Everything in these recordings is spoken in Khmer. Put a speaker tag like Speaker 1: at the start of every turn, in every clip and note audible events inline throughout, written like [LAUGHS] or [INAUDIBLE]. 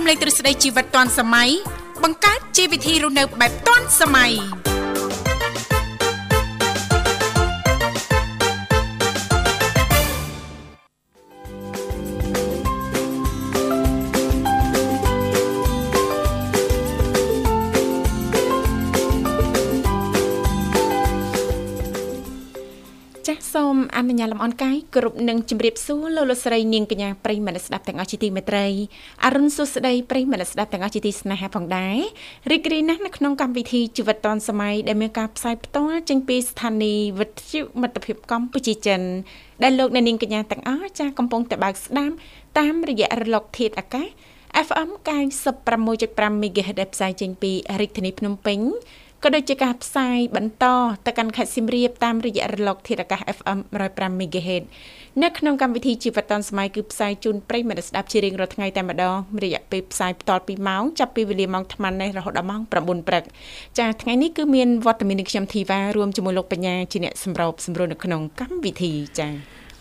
Speaker 1: លេងទ្រឹស្ដីជីវិតទាន់សម័យបង្កើតជីវវិធីរស់នៅបែបទាន់សម័យ
Speaker 2: ចាសសូមអនុញ្ញាតលំអរកាយគ្រប់នឹងជម្រាបសួរលោកលោកស្រីនាងកញ្ញាប្រិយមិត្តស្ដាប់ទាំងអស់ជាទីមេត្រីអរុនសុស្ដីប្រិយមិត្តស្ដាប់ទាំងអស់ជាទីស្នេហាផងដែររីករាយណាស់នៅក្នុងកម្មវិធីជីវិតឌុនសម័យដែលមានការផ្សាយផ្ទាល់ចេញពីស្ថានីយ៍វិទ្យុមិត្តភាពកម្ពុជាចិនដែលលោកអ្នកនាងកញ្ញាទាំងអស់ចាសកំពុងតែបើកស្ដាប់តាមរយៈរលកធាតុអាកាស FM 96.5 MHz ដែលផ្សាយចេញពីរាជធានីភ្នំពេញក៏ដូចជាការផ្សាយបន្តទៅកាន់ខេត្តសៀមរាបតាមរយៈរលកធាតុអាកាស FM 105 MHz នៅក្នុងកម្មវិធីជីវិតឌុនសម័យគឺផ្សាយជូនប្រិយមិត្តស្ដាប់ជារៀងរាល់ថ្ងៃតែម្ដងរយៈពេលផ្សាយបន្តពីម៉ោងចាប់ពីវេលាម៉ោង8:00នេះរហូតដល់ម៉ោង9:00ព្រឹកចា៎ថ្ងៃនេះគឺមានវត្តមាននឹងខ្ញុំធីវ៉ារួមជាមួយលោកបញ្ញាជាអ្នកសម្របសម្រួលនៅក្នុងកម្មវិធីចា៎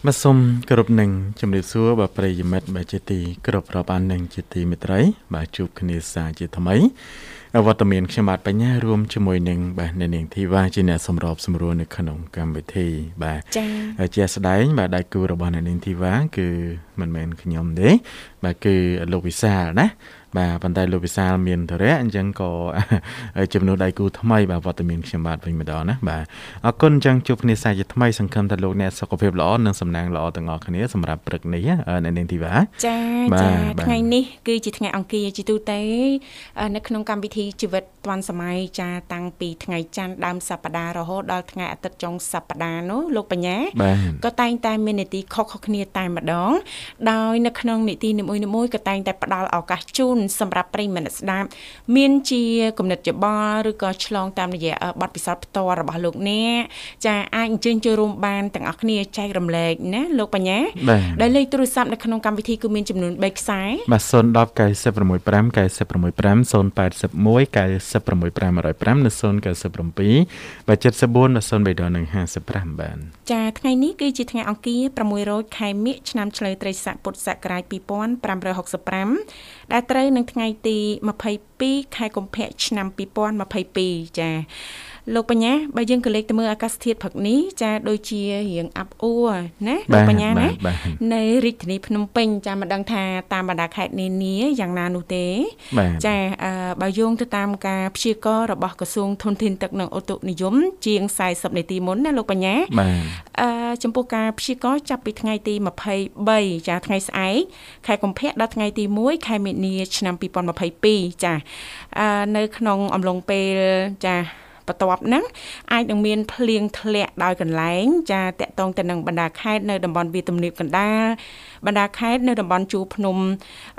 Speaker 3: បាទសូមគោរពនឹងជំរាបសួរបាទប្រិយមិត្តបាទជាទីគោរពរាប់អាននឹងជាទីមេត្រី បាទជួបគ្នាសាជាថ្មីវត្តមានខ្ញុំបាទបញ្ញារួមជាមួយនឹងបាទអ្នកនាងធីវ៉ាជាអ្នកសម្របសម្រួលនៅក្នុងកម្មវិធី បាទ
Speaker 2: ចា៎
Speaker 3: ហើយជាស្ដែងបាទដៃគូរបស់អ្នកនាងធីវ៉ាគឺមិនមែនខ្ញុំទេបាទគឺលោកវិសាលណា បាទប៉ុន្តែលោកវិសាលមានធរៈអញ្ចឹងក៏ [LAUGHS] ចំនួនដៃគូថ្មីបាទវត្តមានខ្ញុំបាទវិញម្ដងណាបាទអរគុណអញ្ចឹងជួបគ្នាសាជាថ្មីសង្ឃឹមថាលោកអ្នកសុខភាពល្អនិងសំណាងល្អទាំងអស់គ្នាសម្រាប់ព្រឹកនេះណាអ្នកនាងធីវ៉ា
Speaker 2: ចា
Speaker 3: បាទ
Speaker 2: ចា
Speaker 3: បាទ
Speaker 2: ថ្ងៃនេះគឺជាថ្ងៃអង្គារជាទូទៅអឺនៅក្នុងកម្មវិធីជីវិតឌွန်សម័យចាតាំងពីថ្ងៃច័ន្ទដើមសប្តាហ៍រហូតដល់ថ្ងៃអាទិត្យចុងសប្តាហ៍នោះលោកបញ្ញា
Speaker 3: បាទ
Speaker 2: ក៏តែងតែមាននីតិខុសៗគ្នាតែម្ដង ដោយនៅក្នុងនីតិនីមួយៗក៏តែងតែផ្ដល់ឱកាសជូនសម្រាប់ប្រិយមិត្តស្ដាប់មានជាគណិតយោបល់ឬក៏ឆ្លងតាមរយៈអឺបទពិសោធន៍ផ្ទាល់របស់លោកអ្នកចាអាចអញ្ជើញចូលរួមបានទាំងអស់គ្នាចែករំលែកណាលោកបញ្ញា
Speaker 3: បាទ
Speaker 2: ដែល លេខទូរស័ព្ទនៅក្នុងកម្មវិធីគឺមានចំនួន3ខ្សែ
Speaker 3: បាទ010 965 965 081 965និង097បាទ74 03និង55បាទ
Speaker 2: ចាថ្ងៃនេះគឺជាថ្ងៃអង្គារ600ខែមិញឆ្នាំឆ្លូវត្រីស័កពុទ្ធសករាជ2565ដែលត្រូវនឹងថ្ងៃទី22ខែកុម្ភៈឆ្នាំ2022ចាលោកបញ្ញាបើយើងក៏លេខទៅមើលអាកាសធាតុព្រឹកនេះចាដូចជារៀងអាប់អួរណាលោកបញ្ញាណា
Speaker 3: បាទ
Speaker 2: នៅរាជធានីភ្នំពេញចាមិនដឹងថាតាមបណ្ដាខេត្តនានាយ៉ាងណានោះទេ
Speaker 3: បាទ
Speaker 2: ចាអឺបើយោងទៅតាមការព្យាករណ៍របស់ក្រសួងធនធានទឹកនិងឧតុនិយម ជាង40នាទីមុនណាលោកបញ្ញា
Speaker 3: បាទ
Speaker 2: អឺចំពោះការព្យាករណ៍ចាប់ពីថ្ងៃទី23ចាថ្ងៃស្អែកខែកុម្ភៈដល់ថ្ងៃទី1ខែមិនិនាឆ្នាំ2022ចាអឺនៅក្នុងអំឡុងពេលចាបន្ទាប់ហ្នឹងអាចនឹងមានភ្លៀងធ្លាក់ដោយកន្លែង ចាតកតងទៅនឹងបណ្ដាខេត្តនៅតំបន់វាលទំនាបកណ្ដាលបណ្ដាខេត្តនៅតំបន់ជួរភ្នំ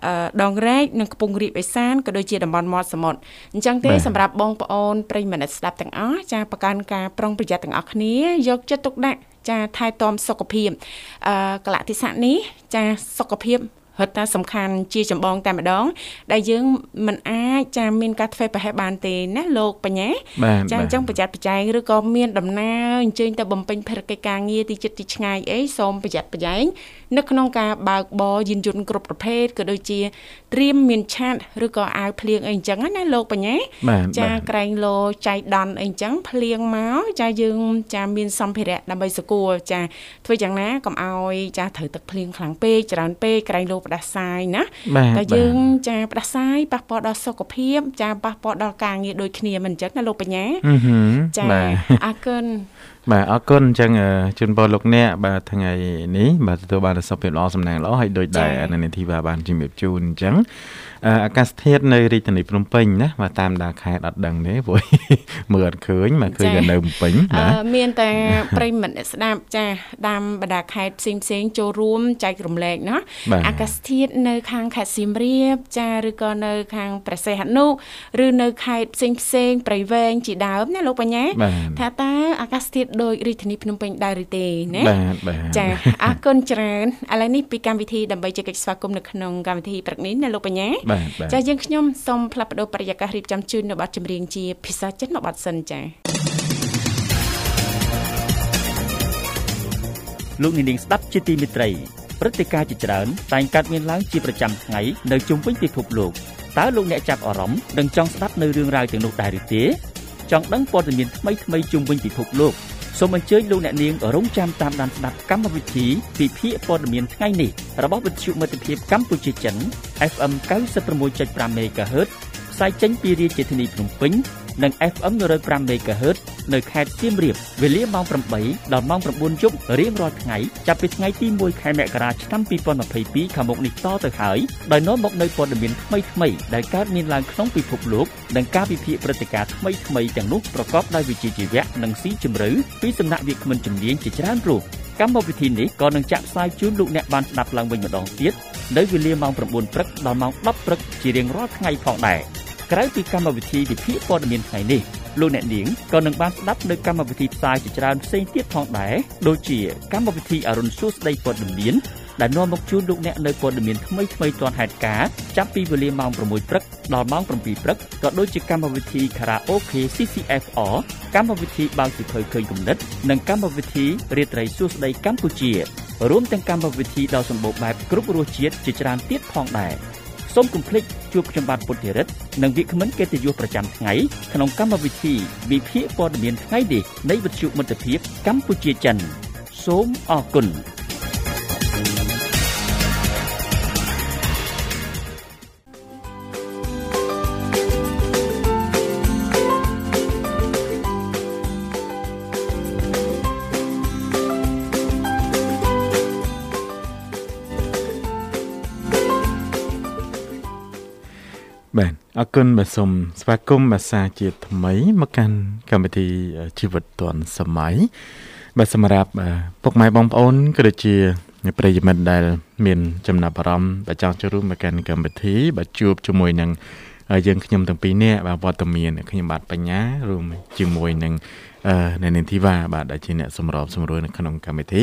Speaker 2: អឺដងរែកនិងខ្ពង់រាបឦសានក៏ដូចជាតំបន់មាត់សមុទ្រអញ្ចឹងទេសម្រាប់បងប្អូនប្រិយមិត្តអ្នកស្ដាប់ទាំងអស់ចាប្រកាន់ការប្រុងប្រយ័ត្នទាំងអស់គ្នាយកចិត្តទុកដាក់ចាថែទាំសុខភាពអឺកលៈទេសៈនេះចាសុខភាព រត់តែសំខាន់ជាចម្បងតែម្ដង ដែលយើងមិនអាចចាមានការធ្វើប្រហែសបានទេណាលោកបញ្ញា
Speaker 3: បាទ
Speaker 2: ចាអញ្ចឹងប្រយ័ត្នប្រយែងឬក៏មានដំណើរអញ្ជើញទៅបំពេញភារកិច្ចការងារទីជិតទីឆ្ងាយអីសូមប្រយ័ត្នប្រយែងនៅក្នុងការបើកបរយានយន្តគ្រប់ប្រភេទក៏ដូចជាត្រៀមមានឆ័ត្រឬក៏អាវភ្លៀងអីអញ្ចឹងណាលោកបញ្ញា
Speaker 3: បាទបាទ
Speaker 2: ចាក្រែងលោចៃដន់អីចឹងភ្លៀងមកចាយើងចាមានសម្ភារៈដើម្បីសកួរចាធ្វើយ៉ាងណាកុំឲ្យចាត្រូវទឹកភ្លៀងខ្លាំងពេកច្រើនពេកក្រែងលោផ្ដាសាយណា
Speaker 3: បាទ
Speaker 2: តែយើងចាផ្ដាសាយប៉ះពាល់ដល់សុខភាពចាប៉ះពាល់ដល់ការងារដូចគ្នាមិនអញ្ចឹងណាលោកបញ្ញា
Speaker 3: អឺហឺ
Speaker 2: ចា
Speaker 3: បាទ
Speaker 2: អរគុណ
Speaker 3: បាទអរគុណអញ្ចឹងអឺជូនពរលោកអ្នកបាទថ្ងៃនេះបាទទទួលបាននូវសុខភាពល្អសំណាងល្អហើយដូច
Speaker 2: ចា៎
Speaker 3: ដែលអាណានិធិវ៉ាបានជំរាបជូនអញ្ចឹងអឺអាកាសធាតុនៅរាជធានីភ្នំពេញណាបាទតាមដាខេត្តអត់ដឹងទេព្រោះ [LAUGHS] មើលអត់ឃើញបាទឃើញ
Speaker 2: ចា៎
Speaker 3: តែនៅភ្នំពេញ
Speaker 2: អឺ
Speaker 3: បាទ
Speaker 2: មានតែ ប្រិយមិត្តអ្នកស្ដាប់ចាតាមបណ្ដាខេត្តផ្សេងផ្សេងៗចូលរួមចែករំលែកណា
Speaker 3: បាទ
Speaker 2: អាកាសធាតុនៅខាងខេត្តសៀមរាបចាឬក៏នៅខាងព្រះសីហនុឬនៅខេត្តផ្សេងផ្សេងៗព្រៃវែងជាដើមណាលោកបញ្ញា
Speaker 3: បាទ
Speaker 2: ថាតើអាកាសធាតុដូចរាជធានីភ្នំពេញដែរឬទេណា
Speaker 3: បាទបាទ
Speaker 2: ចាអរគុណច្រើនឥឡូវនេះពីកម្មវិធីដើម្បីជែកកិច្ចស្វាគមន៍នៅក្នុងកម្មវិធីព្រឹកនេះណាលោកបញ្ញា
Speaker 3: បាទបាទ
Speaker 2: ចាយើងខ្ញុំសូមផ្លាប់បដោប្រយាកររៀបចំជូននៅប័ណ្ណចម្រៀងជាភាសាចិនមួយប័ណ្ណសិនចា
Speaker 4: លោកអ្នកនាងស្ដាប់ជាទីមេត្រីព្រឹត្តិការណ៍ជាច្រើនតែងកើតមានឡើងជាប្រចាំថ្ងៃនៅជុំវិញពិភពលោក តើលោកអ្នកចាប់អារម្មណ៍និងចង់ស្ដាប់នៅរឿងរ៉ាវទាំងនោះដែរឬទេចង់ដឹងព័ត៌មានថ្មីថ្មីជុំវិញពិភពលោកសូមអញ្ជើញលោកអ្នកនាងរងចាំតាមដានស្ដាប់កម្មវិធីពិភាក្សាព័ត៌មានថ្ងៃនេះរបស់វិទ្យុមិត្តភាពកម្ពុជាចិន FM 96.5 MHz ផ្សាយចេញពីរាជធានីភ្នំពេញនិង FM 105 MHz នៅខេត្តសៀមរាបវេលាម៉ោង8ដល់ម៉ោង9យប់រៀងរាល់ថ្ងៃចាប់ពីថ្ងៃទី1ខែមករាឆ្នាំ2022ខាងមុខនេះតទៅហើយដោយនាំមកនៅព័ត៌មានថ្មីថ្មីដែលកើតមានឡើងក្នុងពិភពលោកនិងការវិភាគព្រឹត្តិការណ៍ថ្មីថ្មីទាំងនោះប្រកបដោយវិជ្ជាជីវៈនិងស៊ីជម្រៅពីសំណាក់វាគ្មិនជំនាញជាច្រើនរូបកម្មវិធីនេះក៏នឹងចាក់ផ្សាយជូនលោកអ្នកបានស្ដាប់ឡើងវិញម្ដងទៀតនៅវេលាម៉ោង9ព្រឹកដល់ម៉ោង10ព្រឹកជារៀងរាល់ថ្ងៃផងដែរក្រៅពីកម្មវិធីវិភាគព័ត៌មានថ្ងៃនេះលោកអ្នកនាងក៏នឹងបានស្ដាប់នៅកម្មវិធីផ្សាយជាច្រើនផ្សេងទៀតផងដែរដូចជាកម្មវិធីអរុនសួស្ដីព័ត៌មានដែលនាំមកជូនលោកអ្នកនៅព័ត៌មានថ្មីថ្មីទាន់ហេតុការណ៍ចាប់ពីវេលាម៉ោង6ព្រឹកដល់ម៉ោង7ព្រឹកក៏ដូចជាកម្មវិធី Karaoke CCFR កម្មវិធីបើកសិភើឃើញគំនិត និងកម្មវិធីរាត្រីសួស្ដីកម្ពុជារួមទាំងកម្មវិធីដ៏សម្បូរបែបគ្រប់រសជាតិជាច្រើនទៀតផងដែរសូមកុំភ្លេចជួបខ្ញុំបាទពុទ្ធិរិទ្ធនិងវិក្កមិនកិត្តិយសប្រចាំថ្ងៃក្នុងកម្មវិធីវិភាគព័ត៌មានថ្ងៃនេះនៃវិទ្យុមិត្តភាពកម្ពុជាចិនសូមអរគុណ
Speaker 3: បាទអរគុណបាទសូមស្វាគមន៍ភាសាជាថ្មីមកកាន់កម្មវិធីជីវិតឌွန်សម័យបាទសម្រាប់ពុកម៉ែបងប្អូនក៏ដូចជាប្រិយមិត្តដែល មានចំណាប់អារម្មណ៍បាទចង់ចូលរួមមកកាន់កម្មវិធីបាទជួបជាមួយនឹងយើងខ្ញុំទាំងពីរនាក់បាទវត្តមានខ្ញុំបាទបញ្ញារួមជាមួយនឹងអឺនៅនាងធីវ៉ាបាទដែលជាអ្នកសម្របសម្រួលនៅក្នុងកម្មវិធី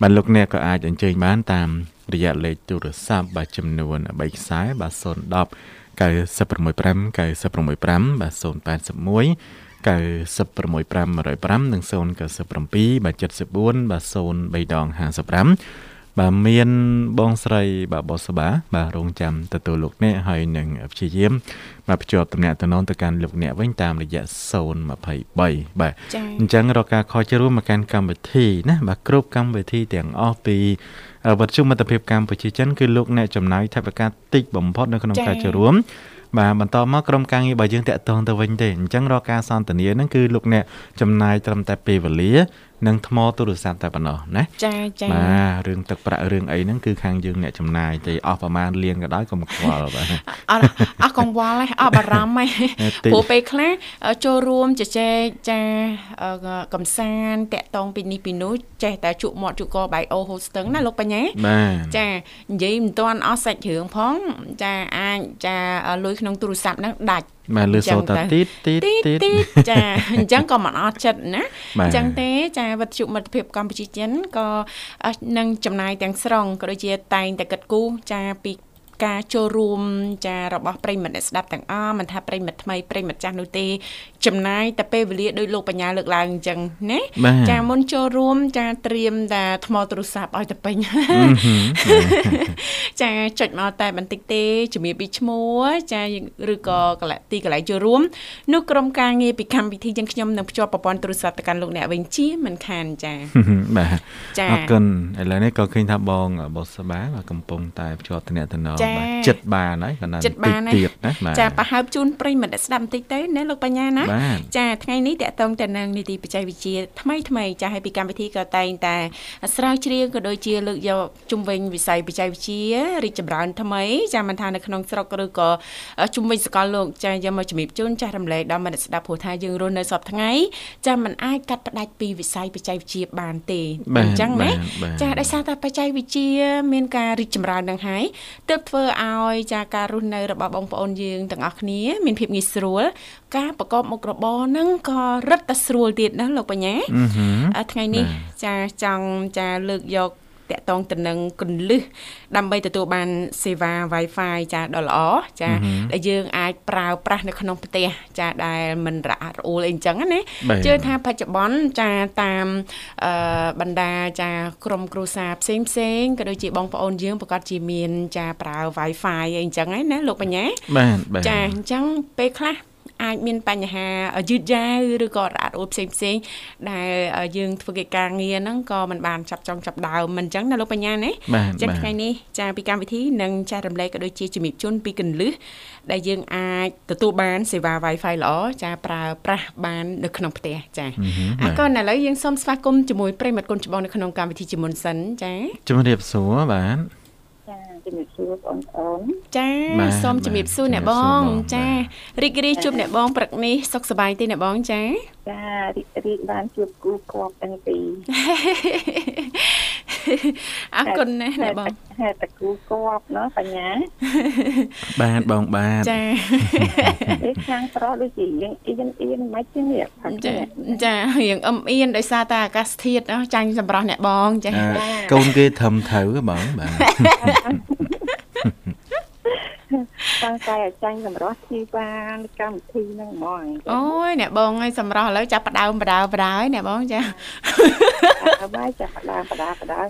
Speaker 3: បាទលោកអ្នកក៏អាចអញ្ជើញបានតាមរយៈលេខទូរស័ព្ទបាទចំនួន3ខ្សែបាទ010 965 965បាទ081 965 105និង097បាទ74បាទ03ដង55បាទមានបងស្រីបាទបសបាបាទរងចាំទទួលលោកអ្នកហើយនឹងព្យាយាមបាទភ្ជាប់តំណែងតំណងទៅកាន់លោកអ្នកវិញតាមរយៈ023បាទ
Speaker 2: ចា
Speaker 3: អញ្ចឹងរកការខជរួមមកកាន់កម្មវិធីណាបាទគ្រប់កម្មវិធីទាំងអស់ពីវត្តជុំមិត្តភាពកម្ពុជាចិនគឺលោកអ្នកចំណាយថវិកាតិចបំផុតនៅក្នុងការចូលរួមបាទបន្តមកក្រុមការងាររបស់យើងតាក់ទងទៅវិញទេអញ្ចឹងរកការសន្ទនាហ្នឹងគឺលោកអ្នកចំណាយត្រឹមតែពេលវេលា និងថ្មទូរស័ព្ទតែប៉ុណ្ណោះណា
Speaker 2: ចាចា
Speaker 3: បាទរឿងទឹកប្រាក់រឿងអីហ្នឹងគឺខាងយើងអ្នកចំណាយទេអស់ប្រហែលលានក៏ដោយកុំខ្វល់បាទ
Speaker 2: អរអស់កង្វល់ហើយអស់បារម្ភ
Speaker 3: [LAUGHS]
Speaker 2: ហើយ
Speaker 3: អេតិច
Speaker 2: ព្រោះពេលខ្លះចូលរួមជជែកចាអឺកំសាន្តតាក់តងពីនេះពីនោះចេះតែជក់មាត់ជក់កបាយអូហូស្ទឹងណាលោកបញ្ញា
Speaker 3: បាទ
Speaker 2: ចានិយាយមិនទាន់អស់សាច់រឿងផង ចាអាចចាលុយក្នុងទូរស័ព្ទហ្នឹងដាច់
Speaker 3: បាទលើសូតាទីតទីត
Speaker 2: ទី
Speaker 3: ទីត
Speaker 2: ទីចាអញ្ចឹងក៏មិនអត់ចិត្តណា
Speaker 3: បាទ
Speaker 2: អញ្ចឹងទេ ចាវត្ថុមិត្តភាពកម្ពុជាចិនក៏អ่ะនឹងចំណាយទាំងស្រុងក៏ដូចជាតែងតែកិត្តគូរចាពីការចូលរួមចារបស់ប្រិយមិត្តអ្នកស្ដាប់ទាំងអស់មិនថាប្រិយមិត្តថ្មីប្រិយមិត្តចាស់នោះទេ ចំណាយតែពេលវេលាដោយលោកបញ្ញាលើកឡើងអញ្ចឹងណា
Speaker 3: បាទ
Speaker 2: ចាមុនចូលរួមចាត្រៀមតែថ្មទូរស័ព្ទឲ្យតែពេញ ចាចុចមកតែបន្តិចទេជំរាបពីឈ្មោះចាឬក៏កន្លែងទីកន្លែងចូលរួមនោះក្រុមការងារពីកម្មវិធីយើងខ្ញុំនឹងភ្ជាប់ប្រព័ន្ធទូរស័ព្ទទៅកាន់លោកអ្នកវិញជាមិនខានចា
Speaker 3: បាទ
Speaker 2: ចា
Speaker 3: អរគុណឥឡូវនេះក៏ឃើញថាបងបុស្បាបាទកំពុងតែភ្ជាប់តំណែងតំណង
Speaker 2: ចា
Speaker 3: បាទចិត្តបានហើយក៏ណាស់
Speaker 2: ចិត្តបានហើយ
Speaker 3: ទៀតណាបាទ
Speaker 2: ចាប្រហើបជូនប្រិយមិត្តអ្នកស្ដាប់បន្តិចទៅណាលោកបញ្ញាណា
Speaker 3: បាទ
Speaker 2: ចាថ្ងៃនេះតកតងតនឹងនីតិបច្ចេកវិទ្យាថ្មីថ្មីចាហើយពីកម្មវិធីក៏តែងតែស្រាវជ្រាវក៏ដូចជាលើកយកជំវិញវិស័យបច្ចេកវិទ្យារីកចម្រើនថ្មីចាមិនថានៅក្នុងស្រុកឬក៏ជំវិញសកលលោកចាយកមកជំរាបជូនចាស់រំលែកដល់មនស្សស្ដាប់ព្រោះថាយើងរស់នៅសពថ្ងៃចាមិនអាចកាត់ផ្ដាច់ពីវិស័យបច្ចេកវិទ្យាបានទេ
Speaker 3: បាទ
Speaker 2: អញ្ចឹងណា
Speaker 3: បាទបាទ
Speaker 2: ចាដោយសារតែបច្ចេកវិទ្យាមានការរីកចម្រើននឹងហើយទើបធ្វើឲ្យចាការរស់នៅរបស់បងប្អូនយើងទាំងអស់គ្នា មានភាពងាយស្រួល ការប្រកបមុខរបរហ្នឹងក៏រឹតតែស្រួលទៀតណាលោកបញ្ញា
Speaker 3: អឺហឺ
Speaker 2: អ่ะថ្ងៃនេះ
Speaker 3: បា
Speaker 2: ចាចង់ចាលើកយក តកតងទៅនឹងគន្លឹះដើម្បីទទួលបានសេវា Wi-Fi ចាដ៏ល្អចាដែលយើងអាចប្រើប្រាស់នៅក្នុងផ្ទះចាដែលមិនរអាក់រអួលអីអញ្ចឹងណា
Speaker 3: បាទ
Speaker 2: ជឿថាបច្ចុប្បន្នចាតាមអឺបណ្ដាចាក្រុមគ្រួសារផ្សេងផ្សេងៗក៏ដូចជាបងប្អូនយើងប្រកាសជាមានចាប្រើ Wi-Fi អីអញ្ចឹងហ្នឹងណាលោកបញ្ញា
Speaker 3: បាទបាទ
Speaker 2: ចាអញ្ចឹងពេលខ្លះអាចមានបញ្ហាយឺតយ៉ាវឬក៏រអាក់រអួលផ្សេងផ្សេងៗដែលយើងធ្វើកិច្ចការងារហ្នឹងក៏មិនបានចាប់ចង់ចាប់ដើមមិនអញ្ចឹងណាលោកបញ្ញាណា
Speaker 3: បាទ
Speaker 2: អញ្ចឹង
Speaker 3: បាទ
Speaker 2: ថ្ងៃនេះចាពីកម្មវិធីនឹងចែករំលែកក៏ដូចជាជំរាបជូនពីកន្លឹះដែលយើងអាចទទួលបានសេវា Wi-Fi ល្អចាប្រើប្រាស់បាននៅក្នុងផ្ទះចា
Speaker 3: អ
Speaker 2: អ
Speaker 3: រ
Speaker 2: រ
Speaker 3: គុ
Speaker 2: គុ
Speaker 3: ណ
Speaker 2: ណឥឡូវយើងសូមស្វាគមន៍ជាមួយប្រិយមិត្តគុនច្បងនៅក្នុងកម្មវិធីជាមុនសិនចា
Speaker 3: ជំរាបសួរបាទ
Speaker 5: ចាជំរាបសួរបងអូន
Speaker 2: ចា
Speaker 3: បាទ
Speaker 2: សូមជំរាបសួរអ្នកបងចារីករាយជួបអ្នកបងព្រឹកនេះសុខសប្បាយទេអ្នកបងចា
Speaker 5: ចារីករាយបានជួបគូគប់ទាំង
Speaker 2: [LAUGHS]
Speaker 5: ពីរ
Speaker 2: អរគុណណាស់អ្នកបង
Speaker 5: ហេតុតែគូគប់ណោះប
Speaker 2: [LAUGHS]
Speaker 5: ញ្ញា
Speaker 3: បាទបងបាទ
Speaker 2: ចា
Speaker 5: ពេលខាងប្រុសដូចជាយើងអៀនអៀនមិនទេនេះផឹក
Speaker 2: ចា
Speaker 5: នេះ
Speaker 2: ចារៀងអឹមអៀនដោយសារតែអាកាសធាតុអស់ចាញ់សម្រាប់អ្នកបងចា
Speaker 3: អ่ากូនគេធំត្រូវហ៎ [LAUGHS] បងបាទ
Speaker 5: ខាងតែអាចាញ់សម្រាប់ជីវ៉ានកម្មវិធីហ្នឹងហ្មង
Speaker 2: អូយអ្នកបងហើយសម្រាប់ឥឡូវចាប់ផ្ដើមបដើបដើហើយអ្នកបងចា
Speaker 5: អើបាយចាប់ផ្ដើមបដាបដា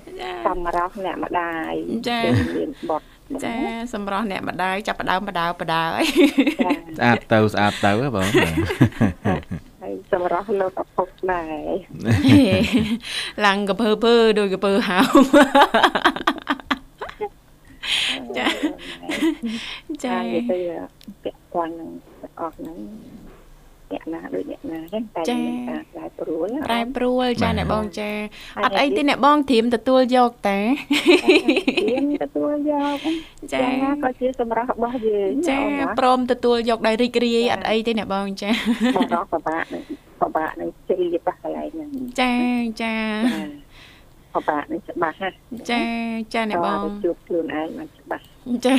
Speaker 5: សម្រាប់អ្នកម្ដាយគឺមានបត់
Speaker 2: ចាសម្រាប់អ្នកម្ដាយចាប់ផ្ដើមបដើបដើ [LAUGHS] ហើយ
Speaker 5: [LAUGHS] ចា
Speaker 3: ស្អាតទៅស្អាតទៅហ៎បងបាទ
Speaker 5: ហើយសម្រាប់លោកឪពុកដែរ
Speaker 2: ឡើងកពើពើដូចកពើ [LAUGHS] ហៅចាចា
Speaker 5: និយាយទៅពាក់ព័ន្ធនឹងអស់ហ្នឹងអ្នកណាដូចអ្នកណាចឹងតែមានការប្រែប្រួល
Speaker 2: ប្រែប្រួលចាអ្នកបងចាអត់អីទេអ្នកបងធรียมទទួលយកតា
Speaker 5: មានទទួលយក
Speaker 2: ចា
Speaker 5: ចាណាក៏ជាសម្រាប់របស់យើង
Speaker 2: ចាព្រមទទួលយកដោយរីករាយអត់អីទេអ្នកបងចា
Speaker 5: បងរកបបាក់នឹងបបាក់នឹងជ្រាបបោះកន្លែងហ្នឹង
Speaker 2: ចាចា
Speaker 5: បបាក់នឹងច្បាស់ណា
Speaker 2: ចាចាអ្នកបង
Speaker 5: តជួបខ្លួនឯងបានច្បាស់
Speaker 2: ចា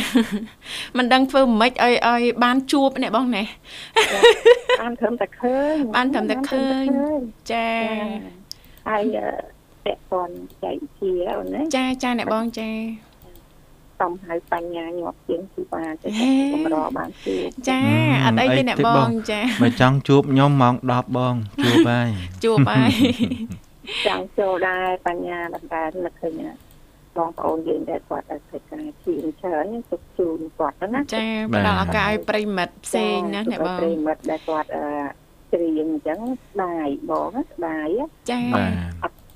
Speaker 2: [LAUGHS] មិនដឹងធ្វើមិនខ្មិចឲ្យឲ្យបានជួបអ្នកបងណែ
Speaker 5: បានត្រឹមតែឃើញ
Speaker 2: បានត្រឹមតែឃើញ ចា
Speaker 5: ហើយតេពនចៃជាអូនណា
Speaker 2: ចាចាអ្នកបងចា
Speaker 5: សំហៅបញ្ញាញាប់ជាងជីវ៉ាទៅ
Speaker 2: ហេ
Speaker 5: កម្របានជួប
Speaker 2: ចាអត់អីទេអ្នកបងចា
Speaker 3: បើចង់ជួបខ្ញុំម៉ោង10បងជួបហើយ
Speaker 2: ជួបហើយ
Speaker 5: ចង់ចូលដែរបញ្ញាបន្តែនឹកឃើញណាបងប្អូនយើងដែលគាត់អាចធ្វើការជាច្រើនទុកជូនគាត់ហ្នឹងណា
Speaker 2: ចាផ្ដល់ឱកាសឲ្យប្រិមិត្តផ្សេងណាអ្នកបង
Speaker 5: ប្រិមិត្តដែលគាត់អឺច្រៀងអញ្ចឹងស្ដាយបងណាស្ដាយ
Speaker 2: ចា
Speaker 3: បាទ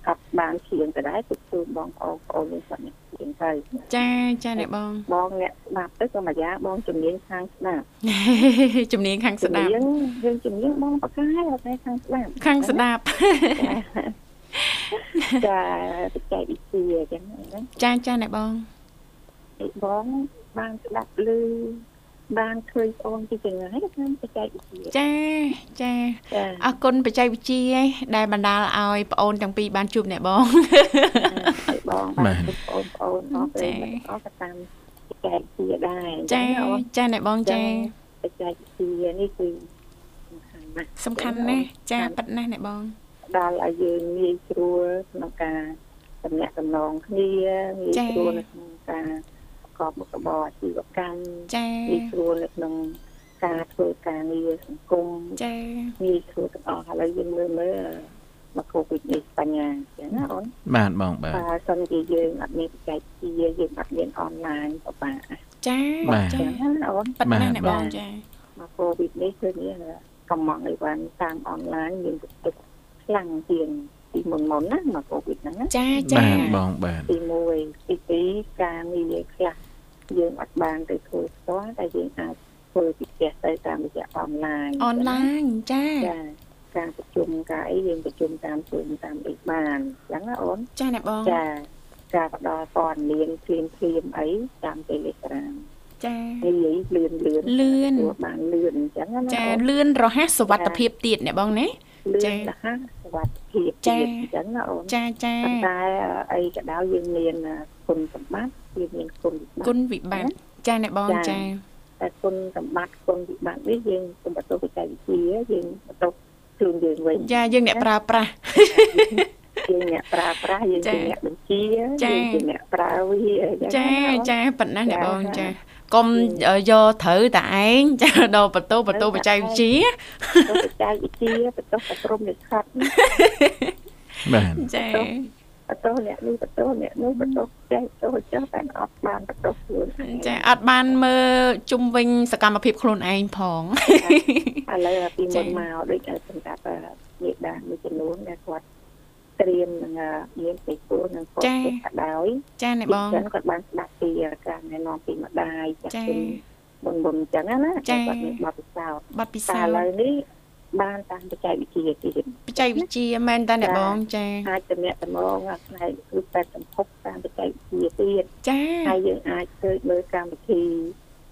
Speaker 5: អត់បានឈៀងទៅដែរទុកជូនបងប្អូនបងប្អូននេះគាត់នេះឈៀងទៅ
Speaker 2: ចាចាអ្នកបង [LAUGHS]
Speaker 5: បងអ្នកស្ដាប់ទៅក៏មួយយ៉ាងបងជំនាញខាងស្ដាប់
Speaker 2: ជំនាញខាងស្ដាប់
Speaker 5: ជំនាញយើងជំនាញបងប្រកាយអត់ដែរខាងស្ដាប់
Speaker 2: ខាងស្ដាប់
Speaker 5: ចាបច្ចេកវិទ្យាអញ្ចឹងណា
Speaker 2: ចាចាអ្នកបង
Speaker 5: ឯបងបានស្ដាប់ឮបានឃើញបងពីចម្ងាយខាងបច្ចេកវិទ្យា
Speaker 2: ចាចា
Speaker 5: ចា
Speaker 2: អរគុណបច្ចេកវិទ្យាដែលបណ្ដាលឲ្យប្អូនទាំងពីរបានជួបអ្នកបង [LAUGHS]
Speaker 5: ឲ្យបងបានបងប្អូនបងប្អូនអរព្រមអរក៏តាមបច្ចេកវិទ្យាដែរអ
Speaker 2: ចា
Speaker 5: ញ្ងណាអូន
Speaker 2: ចាអ្នកបងចា
Speaker 5: បច្ចេកវិទ្យានេះគឺសំខាន់ណា
Speaker 2: សំខាន់ណា
Speaker 5: ស់
Speaker 2: ស់ចាប៉ិតណាស់អ្នកបង
Speaker 5: ដល់ឲ្យយើងងាយស្រួលក្នុងការតំណាក់តំណងគ្នាងាយ
Speaker 2: ចា៎
Speaker 5: ស្រួលនៅក្នុងការប្រកបមុខរបរអាជីវកម្ម
Speaker 2: ចា
Speaker 5: ងាយស្រួលនៅក្នុងការធ្វើការងារសង្គម
Speaker 2: ចា
Speaker 5: ងាយស្រួលទាំងអស់ឥឡូវយើងមើលមើលមកគូវិទ្យាបញ្ញាអញ្ចឹងណាអូន
Speaker 3: បាទបងបាទ
Speaker 5: បើសិនជាយើងអត់មានបច្ចេកវិទ្យាយើងអត់មានអនឡាញពិបាកអ
Speaker 2: ចា
Speaker 3: បាទ
Speaker 5: ញ្
Speaker 2: ចា
Speaker 5: ចឹងណាអូន
Speaker 2: ប៉ិតណាស់
Speaker 3: បាទ
Speaker 2: អ្នកបងចា
Speaker 5: មកកូវីដនេះគឺមានកម្មងអីវ៉ាន់តាមអនឡាញមានទឹកខ្លាំងជាងពីមុនមុនណាមកកូវីដហ្នឹងណា
Speaker 2: ចាចា
Speaker 3: បាទបងបាទ
Speaker 5: ទី1ទី2ការងារខ្លះយើងអត់បានទៅធ្វើផ្ទាល់តែយើងអាចធ្វើពីផ្ទះទៅតាមរយៈអនឡាញ
Speaker 2: អនឡាញចា
Speaker 5: ចាការប្រជុំការអីយើងប្រជុំតាមជុំតាមអីបានអញ្ចឹងណាអូន
Speaker 2: ចាអ្នកបង
Speaker 5: ចាការផ្ដល់ព័ត៌មានព្រៀមព្រៀមៗអីតាម Telegram
Speaker 2: ចា
Speaker 5: និយាយលឿនលឿន
Speaker 2: លឿន
Speaker 5: បានលឿនអញ្ចឹងណា
Speaker 2: ចា
Speaker 5: អូន
Speaker 2: លឿនរហ័សសុវត្ថិភាពទៀតអ្នកបងណា
Speaker 5: លឿ
Speaker 2: ចា៎
Speaker 5: នរហ័សសុវត្ថិភាព
Speaker 2: ចា៎
Speaker 5: ទៀតអញ្ចឹងណាអូន
Speaker 2: ចាចា
Speaker 5: ប៉ុន្តែអីក៏ដោយយើងមានគុណសម្បត្តិយើងមានគុណវិប
Speaker 2: គុ
Speaker 5: ត្តិ
Speaker 2: ណវិបត្តិចាអ្នកបងចា
Speaker 5: ចាតែគុណសម្បត្តិគុណវិបត្តិនេះយើងគំបន្ទប់បច្ចេកវិទ្យាយើងបន្ទប់ខ្លួនយើងវិញ
Speaker 2: ចាយើងអ្នកប្រើប្រាស់
Speaker 5: យើងអ្នកប្រើប្រាស់យើងជាអ្នកបញ្ជា
Speaker 2: ចា៎
Speaker 5: យើងជាអ្នកប្រើវាអ
Speaker 2: ចា
Speaker 5: ញ្ណាបង
Speaker 2: ចាប៉ុណ្ណាអ្នក
Speaker 5: ចា
Speaker 2: បង
Speaker 5: ចា
Speaker 2: ចាកុំយកត្រូវតែឯង [LAUGHS] ចាដល់បន្ទោបន្ទោ
Speaker 5: ត្រូវ
Speaker 2: ប
Speaker 5: តែ
Speaker 2: ច្ចេកវិទ្យា
Speaker 5: ឯ ទៅបច្ចេកវិទ្យាបន្ទោសប្រក្រុមនិស្សិត
Speaker 3: បាទ
Speaker 2: ចា
Speaker 5: បន្ទោសអ្នកនេះបន្ទោសអ្នកនោះបន្ទោសចេះបន្ទោសចោះតែអត់បានបន្ទោសខ្លួនឯង
Speaker 2: ចាអត់បានមើលជុំវិញសកម្មភាពខ្លួនឯងផង [LAUGHS]
Speaker 5: ឥឡូវពី
Speaker 2: ចា៎
Speaker 5: មុនមកដូចតែសម្រាប់អឺមេដាមួយចំនួនដែលគាត់ត្រៀមនឹងអឺមានពីគូនឹងគាត់ចេះក៏ដោយ
Speaker 2: ចាអ្នកបង
Speaker 5: ពីគាត់បានស្ដាប់ពីការណែនាំពីម្ដាយ
Speaker 2: ចា៎
Speaker 5: ពីមុនមុនអញ្ចឹងណា
Speaker 2: ចា៎
Speaker 5: តែគាត់មានបទពិសោធន៍
Speaker 2: បាត់ពិ
Speaker 5: តែ
Speaker 2: សា
Speaker 5: ឥឡូវនេះបានតាមបច្ចេកវិទ្យាទៀត
Speaker 2: បច្ចេកវិទ្យាមែនតាអ្នកបងចា
Speaker 5: អាចតំណាក់តំណងអាផ្នែកគឺតែសម្ភពតាមបច្ចេកវិទ្យាទៀត
Speaker 2: ចា
Speaker 5: ហើយយើងអាចធ្វើមើលកម្មវិធី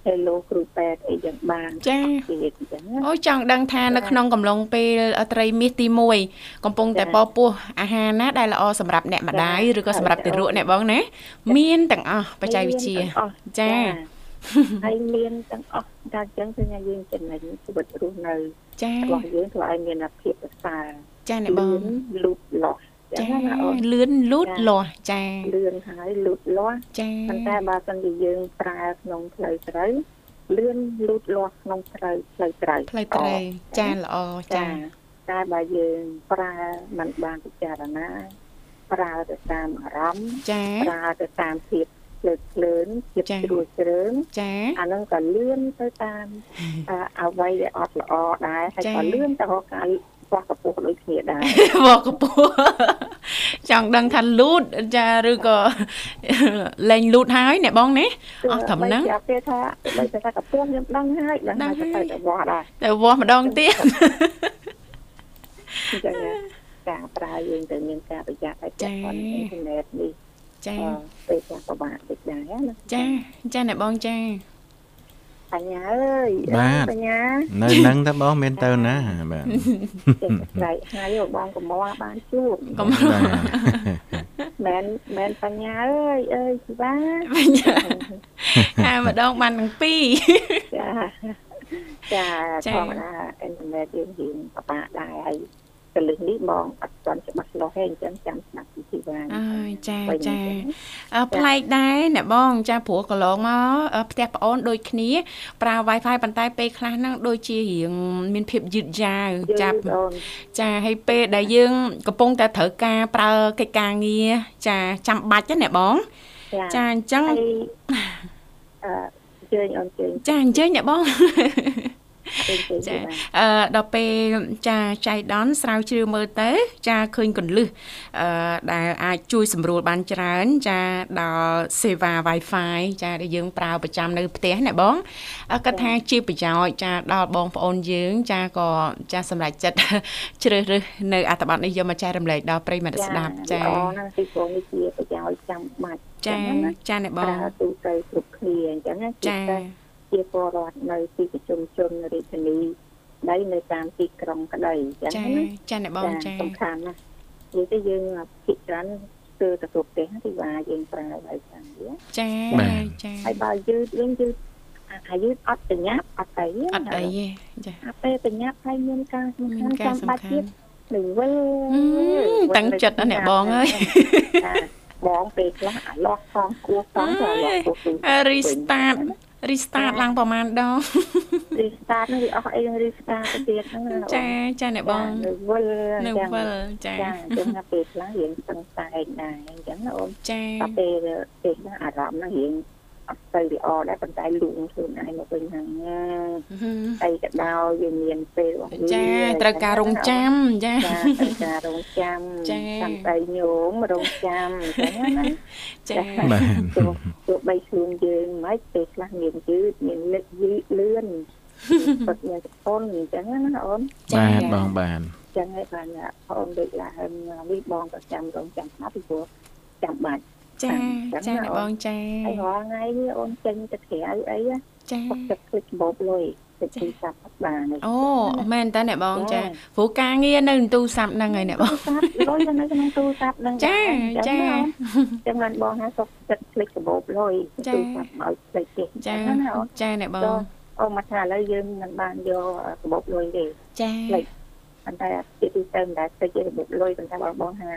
Speaker 5: Hello គ្រូពេទ្យអីយ៉ាងបាន
Speaker 2: ចា
Speaker 5: ទៀតអញ្ចឹងណា
Speaker 2: អូយចង់ដឹងថានៅក្នុងកំឡុងពេលត្រីមាសទី1កំពុងតែ
Speaker 5: ចា
Speaker 2: ពពោះអាហារណាដែលល្អសម្រាប់អ្នកម្ដាយ
Speaker 5: ចា
Speaker 2: ឬក៏សម្រាប់
Speaker 5: ចា
Speaker 2: ទារកអ្នកបងណាមានទាំងអស់បច្ចេកវិទ្យា
Speaker 5: មានទាំងអស់
Speaker 2: ចា
Speaker 5: ហើយមានទាំងអស់តែអញ្ចឹងគឺថាយើងចំណេញជីវិតរស់នៅ
Speaker 2: ចា
Speaker 5: របស់យើងធ្វើឲ្យមានភាពប្រសើរ
Speaker 2: ចាអ្នកបង
Speaker 5: លូតលាស់អ
Speaker 2: ចា
Speaker 5: ញ្ចឹងណាអូន
Speaker 2: លឿនលូតលាស់ចា
Speaker 5: លឿនហើយលូតលាស់
Speaker 2: ចា
Speaker 5: ប៉ុន្តែបើសិនជាយើងប្រើក្នុងផ្លូវត្រូវលឿនលូតលាស់ក្នុងផ្លូវផ្លូវត្រូវ
Speaker 2: ផ្លូវត្រីចាល្អ
Speaker 5: ចា
Speaker 2: ចា
Speaker 5: តែបើយើងប្រើมันបានពិចារណាប្រើទៅតាមអារម្មណ៍
Speaker 2: ចា
Speaker 5: ប្រើទៅតាមភាពភ្លើតភ្លើនភាព
Speaker 2: ចា៎
Speaker 5: ជ្រួលជ្រើង
Speaker 2: ចា
Speaker 5: អាហ្នឹងក៏លឿនទៅតាមអឺអ្វីដែលអត់ល្អដែរហើយ
Speaker 2: ចា៎
Speaker 5: ក៏លឿនទៅរកការខ្វះកពុះដូចគ្នាដែរ
Speaker 2: វកពស់ចង់ដឹងថាលូតចាឬក៏លែងលូតហើយអ្នកបងណា [LAUGHS] អស់ត្រឹមហ្នឹង
Speaker 5: បើគេថាបើគេថាកពុះខ្ញុំដឹងហើយដឹង
Speaker 2: ដឹង
Speaker 5: ហើយទៅ
Speaker 2: ហើយ
Speaker 5: ទៅទៅវត្តដែរ
Speaker 2: តែវាស់ម្ដងទៀត
Speaker 5: អញ្ចឹង
Speaker 2: [LAUGHS]
Speaker 5: ណាការប្រើយើងទៅមានការប្រយ័ត្នហើយពាក់ព័ន្ធនឹងអ៊ីនធឺណិតនេះ
Speaker 2: ចា
Speaker 5: អឺពេលខ្លះពិបាកតិចដែរណា
Speaker 2: ចាចាអ្នកបងចា
Speaker 5: បញ្ញាអើយ
Speaker 3: បាទ
Speaker 5: ប
Speaker 3: [LAUGHS]
Speaker 5: ញ្ញា
Speaker 3: នៅនឹងតែបងមានទៅណាបាទ
Speaker 5: ចេះស្រែកហៅបងកុំមកបានជួប
Speaker 2: កុំ
Speaker 3: បាទ
Speaker 5: មែនមែនបញ្ញាអើយអើយជីវ៉ា
Speaker 2: បញ្ញា [LAUGHS] ហាម្ដងបានទាំងពីរ
Speaker 5: ចាចា
Speaker 2: ចា
Speaker 5: ធម្មតាអ៊ីនធឺណិតយើងរៀនបបាក់ដែរហើយកលឹះនេះបងអត់ស្គាល់ច្បាស់លាស់ទេអញ្ចឹងចាំស្ដាប់ពីជីវ៉ា
Speaker 2: អើយចា
Speaker 5: បី
Speaker 2: ចា
Speaker 5: ហ្នឹង
Speaker 2: អឺផ្លែកដែរអ្នកបង ចាព្រោះកន្លងមកអឺផ្ទះប្អូនដូចគ្នា ប្រើ Wi-Fi ប៉ុន្តែពេលខ្លះហ្នឹងដូចជារៀងមានភាពយឺតយ៉ាវ
Speaker 5: ចា
Speaker 2: ចា
Speaker 5: ប់អូន
Speaker 2: ចាហើយពេលដែលយើងកំពុងតែត្រូវការប្រើកិច្ចការងារចាចាំបាច់ណាបង
Speaker 5: ចា
Speaker 2: ចាអញ្ចឹង [LAUGHS]
Speaker 5: ហើយអឺជើញអូនជើញ
Speaker 2: ចាអញ្ជើញអ្នកបង
Speaker 5: ជើញជើញជីវ៉ា
Speaker 2: អឺដល់ពេលចាចៃដនស្រាវជ្រាវមើលទៅ ចាឃើញកន្លឹះអឺដែលអាចជួយសម្រួលបានច្រើន ចាដល់សេវា Wi-Fi ចាដែលយើងប្រើប្រចាំនៅផ្ទះណាបងអឺគាត់ថាជាប្រយោជន៍ចាដល់បងប្អូនយើង ចាក៏ចាសម្រាប់ចិត្ត [LAUGHS] ជ្រើសរើសនៅអត្ថបទនេះយកមកចែករំលែកដល់ប្រិយមិត្តស្ដាប់ចា
Speaker 5: ល្អណាស់ពីព្រោះនេះជាប្រយោជន៍ចាំបាច់
Speaker 2: ចា
Speaker 5: អញ្ណា
Speaker 2: ចាអ្នកបង
Speaker 5: ប្រើទូទៅគ្រប់គ្នាអញ្ចឹងណា
Speaker 2: ចា
Speaker 5: ពិសេសជាពលរដ្ឋនៅទីប្រជុំជនរាជធានីដីនៅតាមទីក្រុងក្ដីអញ្ចឹង
Speaker 2: ចា
Speaker 5: ណា
Speaker 2: ចាអ្នកបងចា
Speaker 5: សំខាន់ណាស់និយាយទៅយើងភាគច្រើនស្ទើរទៅគ្រប់ទេសណាទីវាយើងប្រើហើយចាងវា
Speaker 2: ចាចា
Speaker 5: ហើយបើយឺតវិញយឺតអាអាយឺតអត់ប្រញាប់អត់អី
Speaker 2: អត់អីទេចា
Speaker 5: អាពេលប្រញាប់ហើយមានការសំ
Speaker 2: មាន
Speaker 5: ខាន់
Speaker 2: ការ
Speaker 5: ចាំបាច់
Speaker 2: សំខាន់
Speaker 5: ទៀតនៅវិល
Speaker 2: ហឹមតាំងចិត្តណាស់អ្នកបងអើយ
Speaker 5: ចា [LAUGHS] បងពេលខ្លះអាលាស់ផងគោះផងទៅអាលាស់គោះទី
Speaker 2: រីស្តាតរីស្តាតឡើងប្រហែលដង
Speaker 5: រីស្តាតហ្នឹងវាអស់អីនឹងរីស្តាតទៅទៀតហ្នឹងណា
Speaker 2: ចាចាអ្នកបង
Speaker 5: នៅវិល
Speaker 2: នៅវិលចា
Speaker 5: ចាអញ្ចឹងណាពេលខ្លះរៀងស្ទឹងតែកដែរអញ្ចឹងណាអូន
Speaker 2: ចា
Speaker 5: តែពេលពេលណាអារម្មណ៍ហ្នឹងរៀងអត់ទៅល្អដែរប៉ុន្តែលូងខ្លួនឯងមកវិញហ្នឹងណា
Speaker 2: ហឹម
Speaker 5: អីក៏ដោយវាមានពេលរបស់វា
Speaker 2: ចាត្រូវការរងចាំចា
Speaker 5: ចាត្រូវការរងចាំ
Speaker 2: ចា
Speaker 5: តាមតែញោមរងចាំអញ្ចឹងណា
Speaker 2: ចា
Speaker 3: បាទ
Speaker 5: ទោះទោះបីខ្លួនយើងមិនពេលខ្លះមានយឺតមានលឹកយឺតលឿនគាត់មានសពន់អញ្ចឹងណាអូន
Speaker 3: បាទបងបាទ
Speaker 5: ចឹងហើយបានបងដូចឡើងនេះបងក៏ចាំរងចាំស្ដាប់ពីព្រោះចាំបាច់
Speaker 2: ចាចាអ្នកបងចា
Speaker 5: ហើយរាល់ថ្ងៃនេះអូនចេញទៅក្រៅអីណា
Speaker 2: ចា
Speaker 5: គាត់ចិត្តភ្លេចបបលុយទៅទីសាប់អត់បានទេ
Speaker 2: អូមែនតាអ្នកបងចាព្រោះការងារនៅក្នុងទូរស័ព្ទហ្នឹងហើយអ្នកបង
Speaker 5: ទូរស័ព្ទលុយនៅក្នុងទូរស័ព្ទហ្នឹង
Speaker 2: ចា
Speaker 5: ដែរ
Speaker 2: ចា
Speaker 5: អញ្ចឹងណាអូនចឹងបានបងហ่าសុខចិត្តភ្លេចបបលុយ
Speaker 2: ចា
Speaker 5: ទូរស័ព្ទមកឲ្យភ្លេចទេ
Speaker 2: ចា
Speaker 5: ចឹងណាអូន
Speaker 2: ចាអ្នកបង
Speaker 5: ចូលអូនមកថាឥឡូវយើងមិនបានយកបបលុយទេ
Speaker 2: ចា
Speaker 5: ប៉ុន្តែជាទូរទៅមិនដែលភ្លេចទេបបលុយប៉ុន្តែបងបងហ่า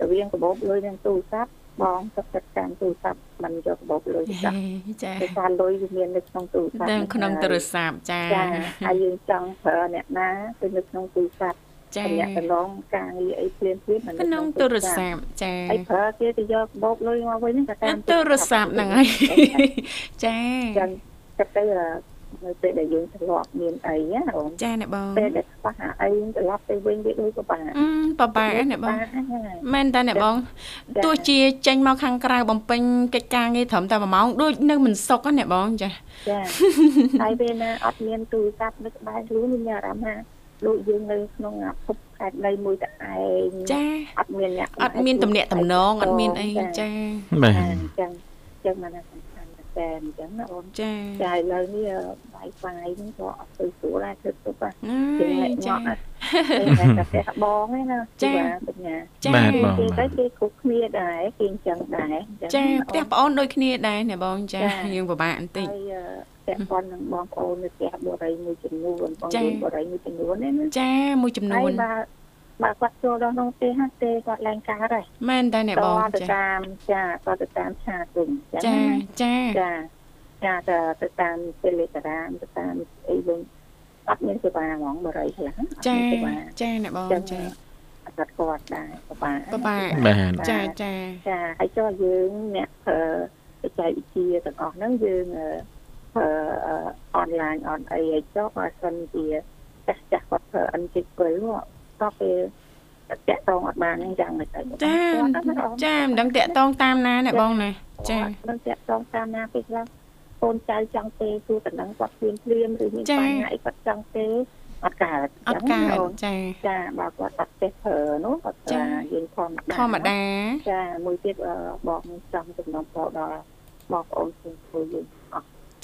Speaker 5: រវាងកាបូបលុយនិងទូរស័ព្ទបងទឹកចិត្តកាន់ទូរស័ព្ទมันយកកាបូបលុយទៅចាស់
Speaker 2: ចា
Speaker 5: ដោយសារលុយវាមាននៅក្នុងទូរស័ព្ទ
Speaker 2: តាមក្នុងទូរស័ព្ទចា
Speaker 5: ចាហើយយើងចង់ប្រើអ្នកណាគឺនៅក្នុងទូរស័ព្ទ
Speaker 2: ចា
Speaker 5: តំណាក់តំណងការងារអីភ្លាមភ្លាម
Speaker 2: ក្នុងទូរស័ព្ទចា
Speaker 5: ហើយប្រើគេទៅយកកាបូបលុយមកវិញហ្នឹងក៏តាម
Speaker 2: ទូរស័ព្ទហ្នឹងហើយចា
Speaker 5: ចឹងគិតទៅនៅពេលដែលយើងធ្លាប់មានអីណាបង
Speaker 2: ចាអ្នកបង
Speaker 5: ពេលដែលខ្វះអាអីត្រឡប់ទៅវិញវាដូចពិបាក
Speaker 2: អឺបបាក់អ្នកបង មែនតាអ្នកបងទោះជាចេញមកខាងក្រៅបំពេញកិច្ចការងារត្រឹមតែ1ម៉ោងដូចនៅមិនសុខណាអ្នកបងចា
Speaker 5: ចាហើយពេលណាអត់មានទូរស័ព្ទនៅក្បែរខ្លួនមានអារម្មណ៍ថាដូចយើងនៅក្នុងអាភពខេត្តដីមួយតែឯង
Speaker 2: ចា
Speaker 5: អត់មានអ្នក
Speaker 2: អត់មានទំនាក់ទំនងអត់មានអីចា
Speaker 3: បា
Speaker 5: អ
Speaker 3: ទ
Speaker 5: ញ្ចឹងអញ្ចឹងមកណាសំខាន់មែនតែអញ្ចឹងណាបង
Speaker 2: ចា
Speaker 5: ចាឥឡូវនេះ Wi-Fi ហ្នឹងក៏អត់ទៅស្រួលដែរគឺទុកហ្នឹង
Speaker 2: អ
Speaker 5: គេ
Speaker 2: ើយចា
Speaker 5: ញ៉ាក់ហ្នឹងតែតែបងឯណា
Speaker 2: ចា
Speaker 5: បញ្ញា
Speaker 2: ចា
Speaker 3: បាទបង
Speaker 5: គេ
Speaker 3: បា
Speaker 5: ទៅ
Speaker 3: ទ
Speaker 5: គេគ្រប់គ្នាដែរគេអញ្ចឹងដែរអញ្ចឹង
Speaker 2: ចា
Speaker 5: ណាបង
Speaker 2: ផ្ទះប្អូនដូចគ្នាដែរអ្នកបងចា
Speaker 5: ចា
Speaker 2: យើងពិបាកបន្តិច
Speaker 5: ហើយអឺពាក់ព័ន្ធនឹងបងប្អូននៅផ្ទះបុរីមួយចំនួនបង
Speaker 2: ចា៎
Speaker 5: ប្អូនបុរីមួយចំនួនហ្នឹងណា
Speaker 2: ចាមួយចំនួ
Speaker 5: ហើយ
Speaker 2: ន
Speaker 5: បើបើគាត់ចូលដល់ក្នុងផ្ទះហ្នឹងទេគាត់ឡើងការហើយ
Speaker 2: មែនតាអ្នកបង
Speaker 5: គាត់ទៅ
Speaker 2: ចា
Speaker 5: តាមចាគាត់ទៅតាមឆាតវិញអញ្ចឹ
Speaker 2: ចា
Speaker 5: ង
Speaker 2: ចា
Speaker 5: ចាចាទៅទៅតាម Telegram ទៅតាមអីវិញអត់មានសេវាហ្មងបុរីខ្លះអត់
Speaker 2: ចា
Speaker 5: មានសេវា
Speaker 2: ចាអ្នកបង
Speaker 5: អញ្ចឹ
Speaker 2: ចា
Speaker 5: ងអត់គាត់គាត់ដែរបបាក់
Speaker 2: ពិបាក
Speaker 3: បាទ
Speaker 2: ចាចា
Speaker 5: ចាហើយចូលយើងអ្នកប្រើបច្ចេកវិទ្យាទាំងអស់ហ្នឹងយើងអឺ អឺអនឡាញអនអីឲ្យចុះបើសិនជាចាស់ចាស់គាត់ធ្វើអិនជីព្រិលតោះពេលតាក់តងអត់បានហ្នឹងយ៉ាងមិនទៅ
Speaker 2: ចាចាមិនដឹងតាក់តងតាមណាអ្នកបងណាចា
Speaker 5: មិនតាក់តងតាមណាពេលខ្លះកូនចៅចង់ទេទូតំណឹងគាត់ព្រៀមព្រៀមឬមានបញ្ហាអីគាត់ចង់ទេអត់កើត
Speaker 2: អត់កើតចា
Speaker 5: ចាបើគាត់អត់ទេព្រើនោះគាត់ថាយើងធម្មតា
Speaker 2: ធម្មតា
Speaker 5: ចាមួយទៀតបងចង់ចំណងពោដល់បងប្អូនខ្លួនខ្លួនយើងអ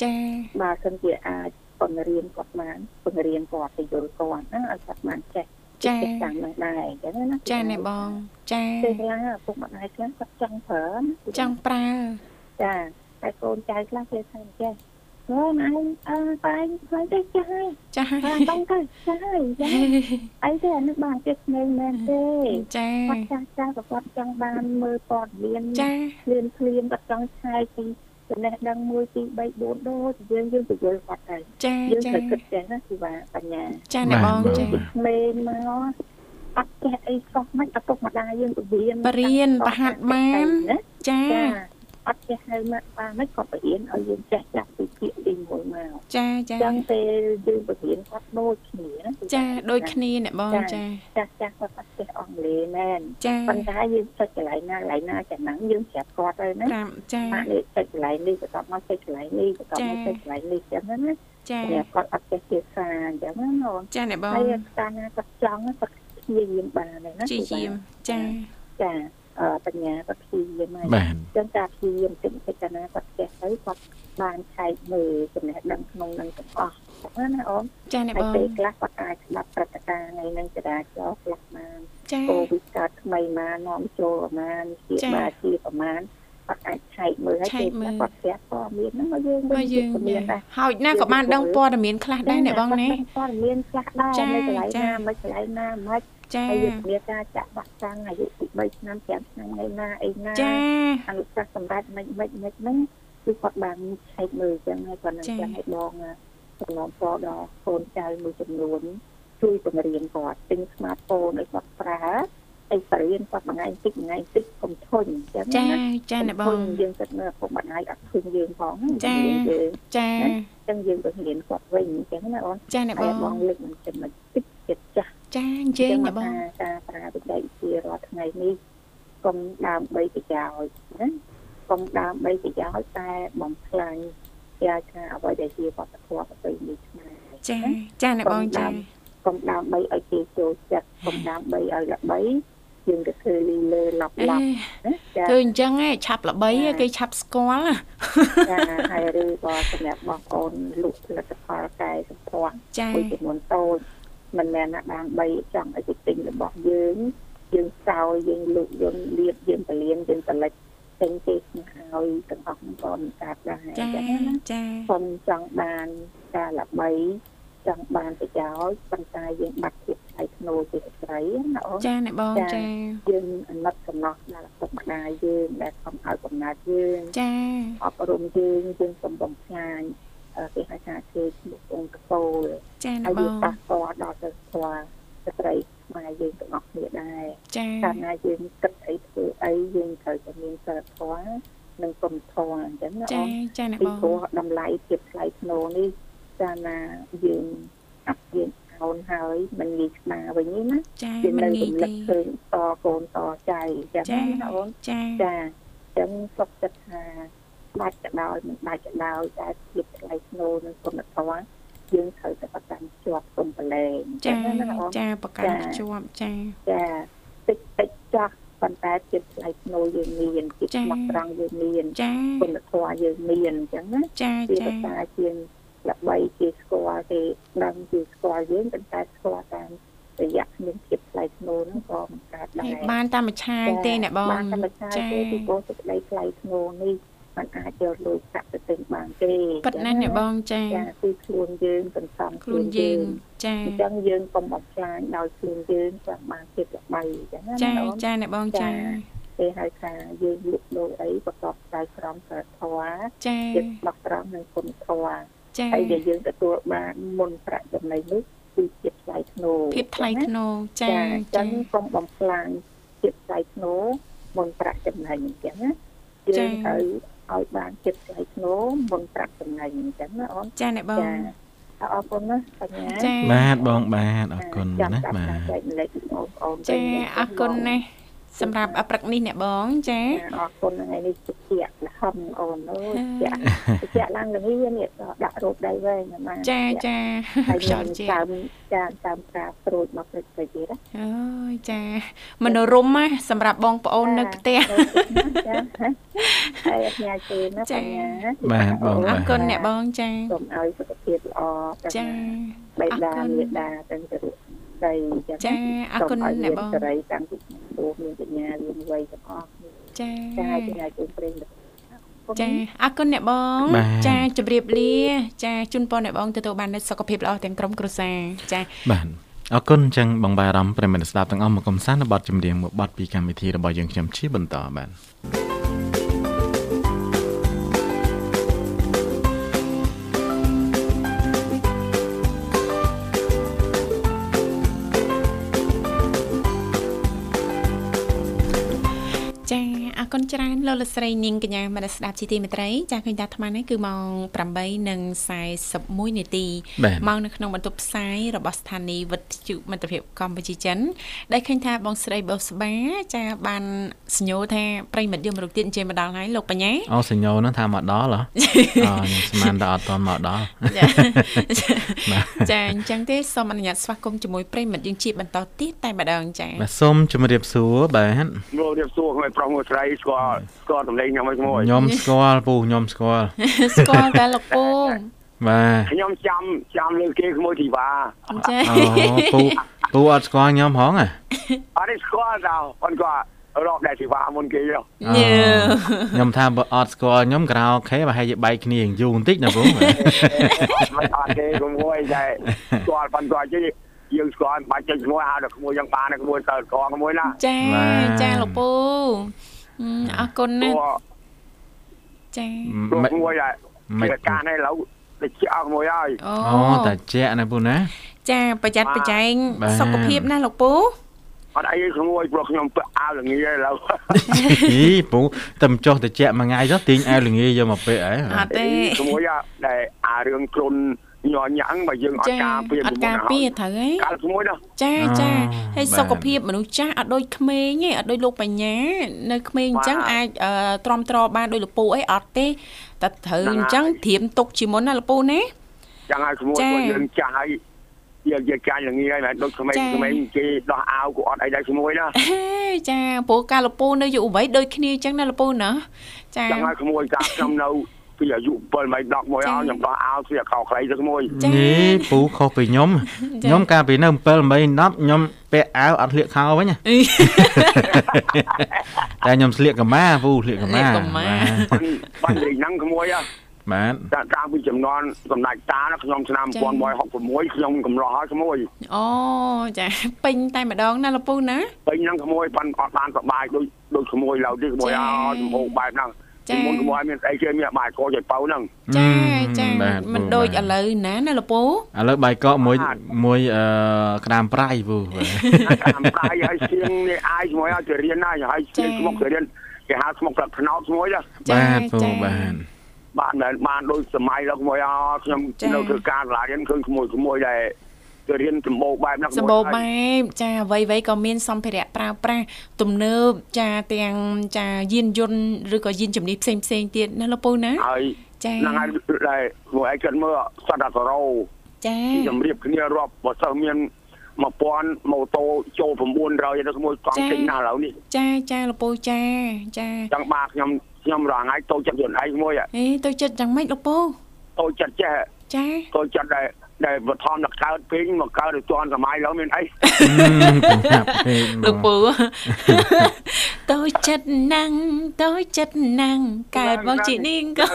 Speaker 2: ចា
Speaker 5: បើសិនជាអាចបង្រៀនគាត់បានបង្រៀនគាត់ទៅយល់គាត់ណាឲ្យគាត់បានចេះ
Speaker 2: ចា
Speaker 5: ចេះតាមនោះដែរអញ្ចឹងណា
Speaker 2: ចាអ្នកបងចា
Speaker 5: ទេខ្លះឪពុកម្ដាយខ្លះគាត់ចង់ប្រើណា
Speaker 2: ចង់ប្រើ
Speaker 5: ចាតែកូនចៅខ្លះគេថាចេះអូនអញអើបែងខ្លះទៅចាស់ហើយ
Speaker 2: ចា
Speaker 5: បានបងទៅចាស់ហើយអញ្ចឹងអីទេអានេះបានចិត្តស្ងេងមែនទេ
Speaker 2: ចា
Speaker 5: គាត់ចាស់ចាស់ក៏គាត់ចង់បានមើលព័ត៌មាន
Speaker 2: [LAUGHS] ចា
Speaker 5: ភ្លាមភ្លាមគាត់ចង់ឆែកពីចំណេះដឹង1 2 3 4ដូចយើងយើងទៅយល់គាត់ទៅ
Speaker 2: ចា
Speaker 5: យើង
Speaker 2: ចា
Speaker 5: ត្រូវគិតចេះណាគឺថាបញ្ញា
Speaker 2: ចាអ្នកបង
Speaker 3: បាទ
Speaker 2: ចា
Speaker 3: បាទ
Speaker 5: មេមកអត់ចេះអីសោះមិនឪពុកម្ដាយយើងពរៀន
Speaker 2: បរៀនប្រហាត់បាន
Speaker 5: ណា
Speaker 2: ចា
Speaker 5: ចាអត់ចេះហៅមកបានមិនគាត់បរៀនឲ្យយើងចេះចាក់ពីពាក្យទី1មកអ
Speaker 2: ចាចា
Speaker 5: ញ្ចឹងពេលយើងបរៀនគាត់ដូចគ្នាណាគឺ
Speaker 2: ចា
Speaker 5: ថា
Speaker 2: ដូចគ្នាអ្នកបងចា
Speaker 5: ចាស់ចាស់គាត់អត់ចេះអង់គ្លេសមែន
Speaker 2: ចា
Speaker 5: ប៉ុន្តែយើងចិត្តកន្លែងណាកន្លែងណាចំណាំងយើងប្រាប់គាត់ទៅណា
Speaker 2: ប្រាំចា
Speaker 5: ម៉ាក់នេះទៅកន្លែងនេះបន្ទាប់មកទៅកន្លែងនេះបន្ទាប់
Speaker 2: ចា៎
Speaker 5: មកទៅកន្លែងនេះអញ្ចឹងណាណា
Speaker 2: ចា
Speaker 5: តែគាត់អត់ចេះភាសាអញ្ចឹងណាបង
Speaker 2: ចាអ្នកបង
Speaker 5: ហើយតាមណាគាត់ចង់គាត់ព្យាយាមបានហើយណា
Speaker 2: ជាយាមចា
Speaker 5: ចាអឺបញ្ញាគាត់ព្យាយាមហើយអ
Speaker 3: បាទ
Speaker 5: ញ្ចឹងការព្យាយាមតិចតិចណាគាត់ចេះទៅគាត់បានឆែកមើលចំណេះដឹងក្នុងនឹងទាំងអស់អញ្ចឹងណាអូន
Speaker 2: ចាអ្នកប
Speaker 5: ហើយ
Speaker 2: ង
Speaker 5: ពេលខ្លះគាត់អាចស្ដាប់ព្រឹត្តិការណ៍ថ្ងៃនឹងចរាចរណ៍ខ្លះបាន
Speaker 2: ចា
Speaker 5: កូវីដកើតថ្មីមកនាំចូលប្រមាណជា
Speaker 2: ចា៎
Speaker 5: បាទជាប្រមាណគាត់អាចឆែកមើល
Speaker 2: ឆែ
Speaker 5: ហើយក
Speaker 2: មើល
Speaker 5: ពេលគាត់ស្ទះព័ត៌មានហ្នឹងមកយើង
Speaker 2: បើ
Speaker 5: វិញ
Speaker 2: យើង
Speaker 5: ព័ត៌មានដែរ
Speaker 2: ហោចណាស់ក៏បានដឹងព័ត៌មានខ្លះដែរអ្នកបងណា
Speaker 5: គាត់ព័ត៌មានខ្លះដែរ
Speaker 2: ចា៎
Speaker 5: នៅកន្លែង
Speaker 2: ចា៎
Speaker 5: ណាមួយកន្លែងណាមិន
Speaker 2: ចា
Speaker 5: ហើយយើងមានការចាក់វ៉ាក់សាំងអាយុពី3ឆ្នាំ5ឆ្នាំឯណាឯណា
Speaker 2: ចា
Speaker 5: អនុសាសន៍សម្រាប់មិនមិនមិនហ្នឹងគឺគាត់បានឆែកមើលអញ្ចឹងហើយគាត់នឹង
Speaker 2: ចា៎
Speaker 5: ចាំឲ្យបងចំណងពរដល់កូនចៅមួយចំនួន ជួយបង្រៀនគាត់ទិញ smartphone ឲ្យគាត់ប្រើឲ្យបរៀនគាត់មួយថ្ងៃតិចមួយថ្ងៃតិចកុំធុញអញ្ចឹ
Speaker 2: ចា
Speaker 5: ង
Speaker 2: ចាអ្នកប
Speaker 5: ធុ
Speaker 2: ង
Speaker 5: ញយើងគិតមើលឪពុកម្ដាយអត់ធុញយើងផង
Speaker 2: ចា៎
Speaker 5: យើងយើង
Speaker 2: ចា
Speaker 5: អញ្ចឹងយើងបង្រៀនគាត់វិញអញ្ចឹងណាអូន
Speaker 2: ចាអ្នកប
Speaker 5: ហើយ
Speaker 2: ង
Speaker 5: បងលើកមិនចំណុចតិចទៀតចាស់
Speaker 2: ចាអញ្ជើញអ្នកបង
Speaker 5: ថាការប្រើបច្ចេកវិទ្យារាល់ថ្ងៃនេះកុំដើមបីប្រយោជន៍ណាកុំដើមបីប្រយោជន៍តែបំផ្លាញជាថាអ្វីដែលជាវប្បធម៌ប្រពៃណីខ្មែរ
Speaker 2: ចាចាអ្នកបងចា
Speaker 5: កុំដើម្បីឲ្យគេចូលចិត្តកុំដើម្បីឲ្យល្បីយើងទៅធ្វើលីលើឡប់ឡ
Speaker 2: អេ
Speaker 5: ប់ណាចា
Speaker 2: ធ្វើអញ្ចឹងឯងឆាប់ល្បីឯងគេឆាប់ស្គាល់
Speaker 5: ចាហើយឬក៏សម្រាប់បងប្អូនលក់ផលិតផលកែសម្ផស្ស
Speaker 2: ចា
Speaker 5: មួយចំនួនតូចមិនមែនថាដើមបីចង់ឲ្យគេទិញរបស់យើងយើងសោយយើងលក់យើងលៀបយើងពលានយើងផលិតទិញគេស្នើឲ្យទាំងអស់ហ្នឹងក៏មិនកើតដែរអ
Speaker 2: ចា
Speaker 5: ញ្ចឹងណា
Speaker 2: ចា
Speaker 5: ខ្ញុំចង់បានការល្បីចង់បានប្រយោជន៍ប៉ុន្តែយើងបាត់ភាព ថ្លៃធ្នូជាស្ត្រីណាអូន
Speaker 2: ចាអ្នកបងចា
Speaker 5: ចា៎យើងអាណិតសំណោះដល់ឪពុកម្ដាយយើងដែលខំឲ្យកំណត់យើង
Speaker 2: ចា
Speaker 5: អប់រំយើងយើងសូមបំផ្លាញអឺគេហៅថាគេឈ្មោះអង្គកូល
Speaker 2: ចា
Speaker 5: ហើ
Speaker 2: អ្នកប
Speaker 5: យយើង
Speaker 2: ង
Speaker 5: ប៉ះពាល់ដល់ទៅស្គាល់ស្ត្រីខ្មែរយើងទាំងអស់គ្នាដែរ
Speaker 2: ចា
Speaker 5: កាលណាយើងគិតអីធ្វើអីយើងត្រូវតែមានសិលធម៌និងគុណធម៌អញ្ចឹងណា
Speaker 2: ចា
Speaker 5: អូន
Speaker 2: ចាអ្នក
Speaker 5: ពី
Speaker 2: បង
Speaker 5: ព្រោះតម្លៃភាពថ្លៃធ្នូនេះកាលណាយើងអាប់យើងអោនហើយមិនងាយស្មារវិញនេះណា
Speaker 2: ចា
Speaker 5: វា
Speaker 2: មិន
Speaker 5: នៅ
Speaker 2: ងាយ
Speaker 5: រំលឹ
Speaker 2: ទេ
Speaker 5: កឃើញតកូនតចៃអញ្ចឹង
Speaker 2: ចា
Speaker 5: ណាអូន
Speaker 2: ចា
Speaker 5: ចាអញ្ចឹងសុខចិត្តថាបាច់ក៏ដោយមិនបាច់ក៏ដោយតែភាពថ្លៃធ្នូនិងគុណធម៌យើងត្រូវតែប្រកាន់ជាប់សំប្រឡែងអ
Speaker 2: ចា
Speaker 5: ញ្ងណាអូន
Speaker 2: ចាប្រកាន់
Speaker 5: ចា៎
Speaker 2: ភ្ជាប់ចា
Speaker 5: ចាតិចតិចចាស់ប៉ុន្តែចិត្តថ្លៃធ្នូយើងមានចិត្ត
Speaker 2: ចា៎
Speaker 5: ស្មោះត្រង់យើងមាន
Speaker 2: ចា
Speaker 5: គុណធម៌យើងមានអញ្ចឹងណា
Speaker 2: ចាចា
Speaker 5: ជាភាសាជាងល្បីជាស្គាល់គេដឹងជាស្គាល់យើងប៉ុន្តែស្គាល់តាមរយៈមានចិត្តថ្លៃធ្នូហ្នឹងក៏មិនកើតដែ
Speaker 2: ហើយ
Speaker 5: រ
Speaker 2: បានតាមមួយឆាយទេអ្នកបង
Speaker 5: បានធម្មតា
Speaker 2: ចា
Speaker 5: ទេពីព្រោះសេចក្តីថ្លៃធ្នូនេះมันអាចយកលុយប្រាក់ទៅទិញបានទេ
Speaker 2: ប៉ិតណាស់អ្នកបងចា
Speaker 5: ចាគឺខ្លួនយើងសន្សំ
Speaker 2: ខ្លួនយើងចា
Speaker 5: អញ្ចឹងយើងកុំបំផ្លាញដោយខ្លួនយើងចង់បានចិត្តល្បីអញ្ចឹងណា
Speaker 2: ចា
Speaker 5: បង
Speaker 2: ចាអ្នកបងចា
Speaker 5: គេហៅថាយើងលក់ដូរអីប្រកបដោយក្រមសីលធម៌
Speaker 2: ចា
Speaker 5: ចិត្តស្មោះត្រង់និងគុណធម៌
Speaker 2: ចា
Speaker 5: ហើយដែលយើងទទួលបានមុនប្រាក់ចំណេញនេះគឺចិត្តថ្លៃធ្នូ
Speaker 2: ភាពថ្លៃធ្នូចា
Speaker 5: ចាអញ្ចឹ
Speaker 2: ចា
Speaker 5: ងកុំបំផ្លាញចិត្តថ្លៃធ្នូមុនប្រាក់ចំណេញអញ្ចឹងណាយើង
Speaker 2: ចា៎
Speaker 5: ត្រូវឲ្យបានចិត្តថ្លៃធ្នូមុនប្រាក់ចំណេញអញ្ចឹងណាអូន
Speaker 2: ចាអ្នកបង
Speaker 5: ចាអរគុណណាកញ្ញា
Speaker 2: ចា
Speaker 3: បាទបងបាទអរគុណណា
Speaker 5: ចាំ
Speaker 3: បា
Speaker 5: តាម
Speaker 3: ទ
Speaker 5: ចែកម្លេចបងប្អូន
Speaker 2: ចា
Speaker 5: វិញ
Speaker 2: អរគុណណាស់សម្រាប់ព្រឹកនេះអ្នកបងចា
Speaker 5: អរគុណថ្ងៃនេះជជែកល្ហឹមអូនអូយជែកជែកឡើងល្ងៀននេះក៏ដាក់រូបដៃវែងណា
Speaker 2: ចាចា
Speaker 5: ហើយ
Speaker 2: ខ្យល់
Speaker 5: ខ្ញុំ
Speaker 2: ជា
Speaker 5: តាមចាតាមការព្រួយមកព្រឹកទៅទៀតណា
Speaker 2: អូយចាមនោរម្យណាស់សម្រាប់បងប្អូននៅផ្ទះ
Speaker 5: ចាហើយអញ្ញាជូនណា
Speaker 2: ចា
Speaker 5: បញ្ញា
Speaker 3: បាទបង
Speaker 2: អរគុណអ្នកបងចា
Speaker 5: សូមឲ្យសុខភាពល្អ
Speaker 2: ចា
Speaker 5: បេ
Speaker 2: អរ
Speaker 5: តា
Speaker 2: គុណ
Speaker 5: មេតាទាំងទៅស្ដីចឹង
Speaker 2: ចាអរគុណអ្នកបង
Speaker 5: សេរីតាំងពីខ្ញុំពូមានបញ្ញារៀនវ័យទាំងអស់គ្នា
Speaker 2: ចា
Speaker 5: ចាអញ្ញាជូនព្រេងមិត្តអរគុណ
Speaker 2: ចាអរគុណអ្នកបង
Speaker 3: បាទ
Speaker 2: ចាជម្រាបលា ចាជូនពរអ្នកបងទទួលបាននូវសុខភាពល្អទាំងក្រុមគ្រួសារចា
Speaker 3: បាទអរគុណអញ្ចឹងបងបារម្ភប្រិយមិត្តស្ដាប់ទាំងអស់មកកំសាន្តនៅបទចម្រៀងមួយបទពីកម្មវិធីរបស់យើងខ្ញុំជាបន្តបាទ
Speaker 2: ចាអរគុណច្រើនលោកលកស្រីនាងកញ្ញាមនស្សស្ដាប់ជីទីមេត្រីចាឃើញថាអាត្មានេះគឺម៉ោង8:41នាទី
Speaker 3: បាទ
Speaker 2: មកនៅក្នុងបន្ទប់ផ្សាយរបស់ស្ថានីយ៍វិទ្យុមិត្តភាពកម្ពុជាចិនដែលឃើញថាបងស្រីបោស្បាចាបានសញ្ញោថាប្រិយមិត្តយើងមករកទៀតអញ្ជើញមកដល់ហើយលោកបញ្ញា
Speaker 3: អូសញ្ញោហ្នឹងថាមកដល់ហ៎ អូខ្ញុំស្មានតែអត់ទាន់មកដល់ [LAUGHS]
Speaker 2: ចា
Speaker 3: បាទ
Speaker 2: ចាអញ្ចឹងទេសូមអនុញ្ញាតស្វាគមន៍ជាមួយប្រិយមិត្តយើងជាបន្តទៀតតែម្ដងចា
Speaker 3: បាទសូមជម្រាបសួរបាទ
Speaker 6: មករៀបសួរខ្ញុំប្រុសមួយស្រីស្គាល់ស្គាល់តម្លេងខ្ញុំឲ្យឈ្មោះ
Speaker 3: ខ្ញុំស្គាល់ពូខ្ញុំស្គាល់
Speaker 2: ស្គាល់តែលោកពង
Speaker 3: បាទ
Speaker 6: ខ្ញុំចាំចាំលើគេឈ្មោះធីវ៉ា
Speaker 2: ចា
Speaker 3: អូពូពូអត់ស្គាល់ខ្ញុំហងអ្ហ៎
Speaker 6: អត់ឯងស្គាល់តើអត់គាត់រອບដែរធីវ៉ាមុនគេ
Speaker 2: ញើ
Speaker 6: យោ
Speaker 3: ខ្ញុំថាបើអត់ស្គាល់ខ្ញុំក្រៅអូខេប្រហែលជាបែកគ្នាយ៉ាងយូរបន្តិចណាពូ
Speaker 6: មិនអត់ទេកុំអួយតែស្គាល់ប៉ុនគាត់ជិះយើងស្គាល់បាច់ចេញឈ្មោះហៅដល់ឈ្មោះយ៉ាងបានឈ្មោះទៅកងឈ្មោះណា
Speaker 2: ចា
Speaker 3: បាទ
Speaker 2: ចាលោកពូអឺអរគុណណាស់ចា
Speaker 6: ព្រោះ
Speaker 3: មិន
Speaker 6: ឈ្មោះដែរ
Speaker 3: មិន
Speaker 6: វាការនេះឡូវតែជាឈ្មោះហើយ
Speaker 2: អូ
Speaker 3: អូតាជែកណាពូណា
Speaker 2: ចាប្រយ័ត្ន
Speaker 6: បាទ
Speaker 2: ប្រយែង
Speaker 3: បាទ
Speaker 2: សុខភាពណាលោកពូ
Speaker 6: អត់អីឈ្មោះព្រោះខ្ញុំពាក់អាវល្ងាហើយឡូវ
Speaker 3: អីពូតែមិនចុះតាជែកមួយថ្ងៃចុះទាញអាវលងាយកមកពាក់អី
Speaker 2: អត់ទេ
Speaker 6: ឈ្មោះដែរអារឿងគ្រុនញយញ៉ាំងបើយើងអត់
Speaker 2: ចា
Speaker 6: ការពារ
Speaker 2: អត់ការពារត្រូវឯង
Speaker 6: កាលឈ្មោះណា
Speaker 2: ចាចា
Speaker 3: អូ
Speaker 2: ហើយ
Speaker 3: បាទ
Speaker 2: សុខភាពមនុស្សចាស់អត់ដូចក្មេងទេអត់ដូចលោកបញ្ញានៅក្មេងអញ្ចឹង
Speaker 6: បាទ
Speaker 2: អាចអឺទ្រាំទ្របានដូចលកពូអីអត់ទេតែត្រូវ
Speaker 6: ហ្នឹង
Speaker 2: អញ្ចឹង
Speaker 6: ហើយ
Speaker 2: ធៀមទុកជាមុនណាលកពូណា [LAUGHS]
Speaker 6: ចឹងហើយក្មួយ
Speaker 2: ចា៎
Speaker 6: គាត់យើងចាស់ហើយយើងយើងចាស់ល្ងាហើយមិនដូចក្មេង
Speaker 2: ចា៎
Speaker 6: ក្មេងគេដោះអាវក៏អត់អីដែរក្មួយណា
Speaker 2: ហេចាព្រោះការលកពូនៅយុវវ័យដូចគ្នាអញ្ចឹងណាលកពូណាចា
Speaker 6: ចឹងហើយក្មួយចាស់ខ្ញុំនៅពីអាយុ7មិន10មក
Speaker 2: ចា៎
Speaker 6: ហើយខ្ញុំដោះអាវស្លៀកខោខ្លីទៅក្មួយ
Speaker 2: ចា៎
Speaker 3: នេះពូខុសពីខ្ញុំ
Speaker 2: ចា៎
Speaker 3: ខ្ញុំកាលពីនៅ7 8 10ខ្ញុំពាក់អាវអត់ស្លៀកខោវិញណាតែខ្ញុំស្លៀកកាម៉ាពូស្លៀកកាម៉ា
Speaker 2: ស្លៀកកាម៉ា
Speaker 3: បាទ
Speaker 6: បាញ់បាញ់លេងហ្នឹងក្មួយហ៎
Speaker 3: បាទ
Speaker 6: តាតាំងពីចំនួនសម្ដេចតាណាខ្ញុំឆ្នាំ
Speaker 2: ចា៎
Speaker 6: 1966ខ្ញុំកម្រោះឲ្យក្មួយ
Speaker 2: អូចា [LAUGHS] ពេញតែម្ដងណាលោកពូណា
Speaker 6: ពេញហ្នឹងក្មួយប៉ាន់អត់បានសប្បាយដូចដូចក្មួយឡើយទេក្មួយ
Speaker 2: ចា៎
Speaker 6: ឲ្យសម្ពោងបែបហ្នឹង
Speaker 2: ចា៎
Speaker 6: ពីមុនក្មួយមានស្អីគេមានបាយគោចៃប៉ៅហ្នឹង
Speaker 2: ចា
Speaker 3: អឺ
Speaker 2: ចា
Speaker 3: បាទ
Speaker 2: មិន
Speaker 3: ពូ
Speaker 2: ដូច
Speaker 3: បាទ
Speaker 2: ឥឡូវណាណាលោកពូ
Speaker 3: ឥឡូវបាយកកមួយ
Speaker 6: បាទ
Speaker 3: មួយអឺក្តាមប្រៃពូបាទ
Speaker 6: តាមដៃឲ្យសៀងនេះអាយជាមួយឲ្យទៅរៀនណាឲ្យសៀងស្មុកទៅរៀនគេហៅស្មុកប្រឹកភ្នោតស្មួយណា
Speaker 2: ចា
Speaker 3: បាទពូ
Speaker 2: ចា
Speaker 3: បាទ
Speaker 6: បានមិនបានដូចសម័យដល់ក្មួយអខ្ញុំ
Speaker 2: ចា៎
Speaker 6: នៅធ្វើការសាលារៀនឃើញក្មួយក្មួយដែរទៅរៀនសម្បូរបែបហ្នឹងក្មួយ
Speaker 2: សម្បូរ
Speaker 6: ហើយ
Speaker 2: បែបចាអ្វីៗក៏មានសម្ភារៈប្រើប្រាស់ទំនើបចាទាំងចាយានយន្តឬក៏យានជំនិះផ្សេងផ្សេងៗទៀតណាលោកពូណា
Speaker 6: ហើយ
Speaker 2: ចា៎
Speaker 6: ហ្នឹងហើយដែរពួកឯងគិតមើលសត្វអាសរោ
Speaker 2: ចា
Speaker 6: ទីជំរាបគ្នារាប់បើសិស្សមាន1000ម៉ូតូចូល900ទៅក្មួយកង់ចេញណាស់ឥឡូវនេះ
Speaker 2: ចាចាលោកពូចាចា
Speaker 6: ចង់បាទខ្ញុំខ្ញុំរងថ្ងៃតូចចិត្តខ្លួនឯងមួយ
Speaker 2: អេទៅចិត្តយ៉ាងម៉េចលោកពូ
Speaker 6: តូចចិត្តចេះ
Speaker 2: ចា
Speaker 6: តូចចិត្តដែរដែលបឋមដល់កើតពេញមកកើតទៅទាន់សម័យឥឡូវមានអី
Speaker 3: ញ៉ាប់ពេក
Speaker 2: លោកពូ ទៅ [LAUGHS] ចិត្តណាំងទៅចិត្តណាំងកើតមកជានាង [LAUGHS] ក៏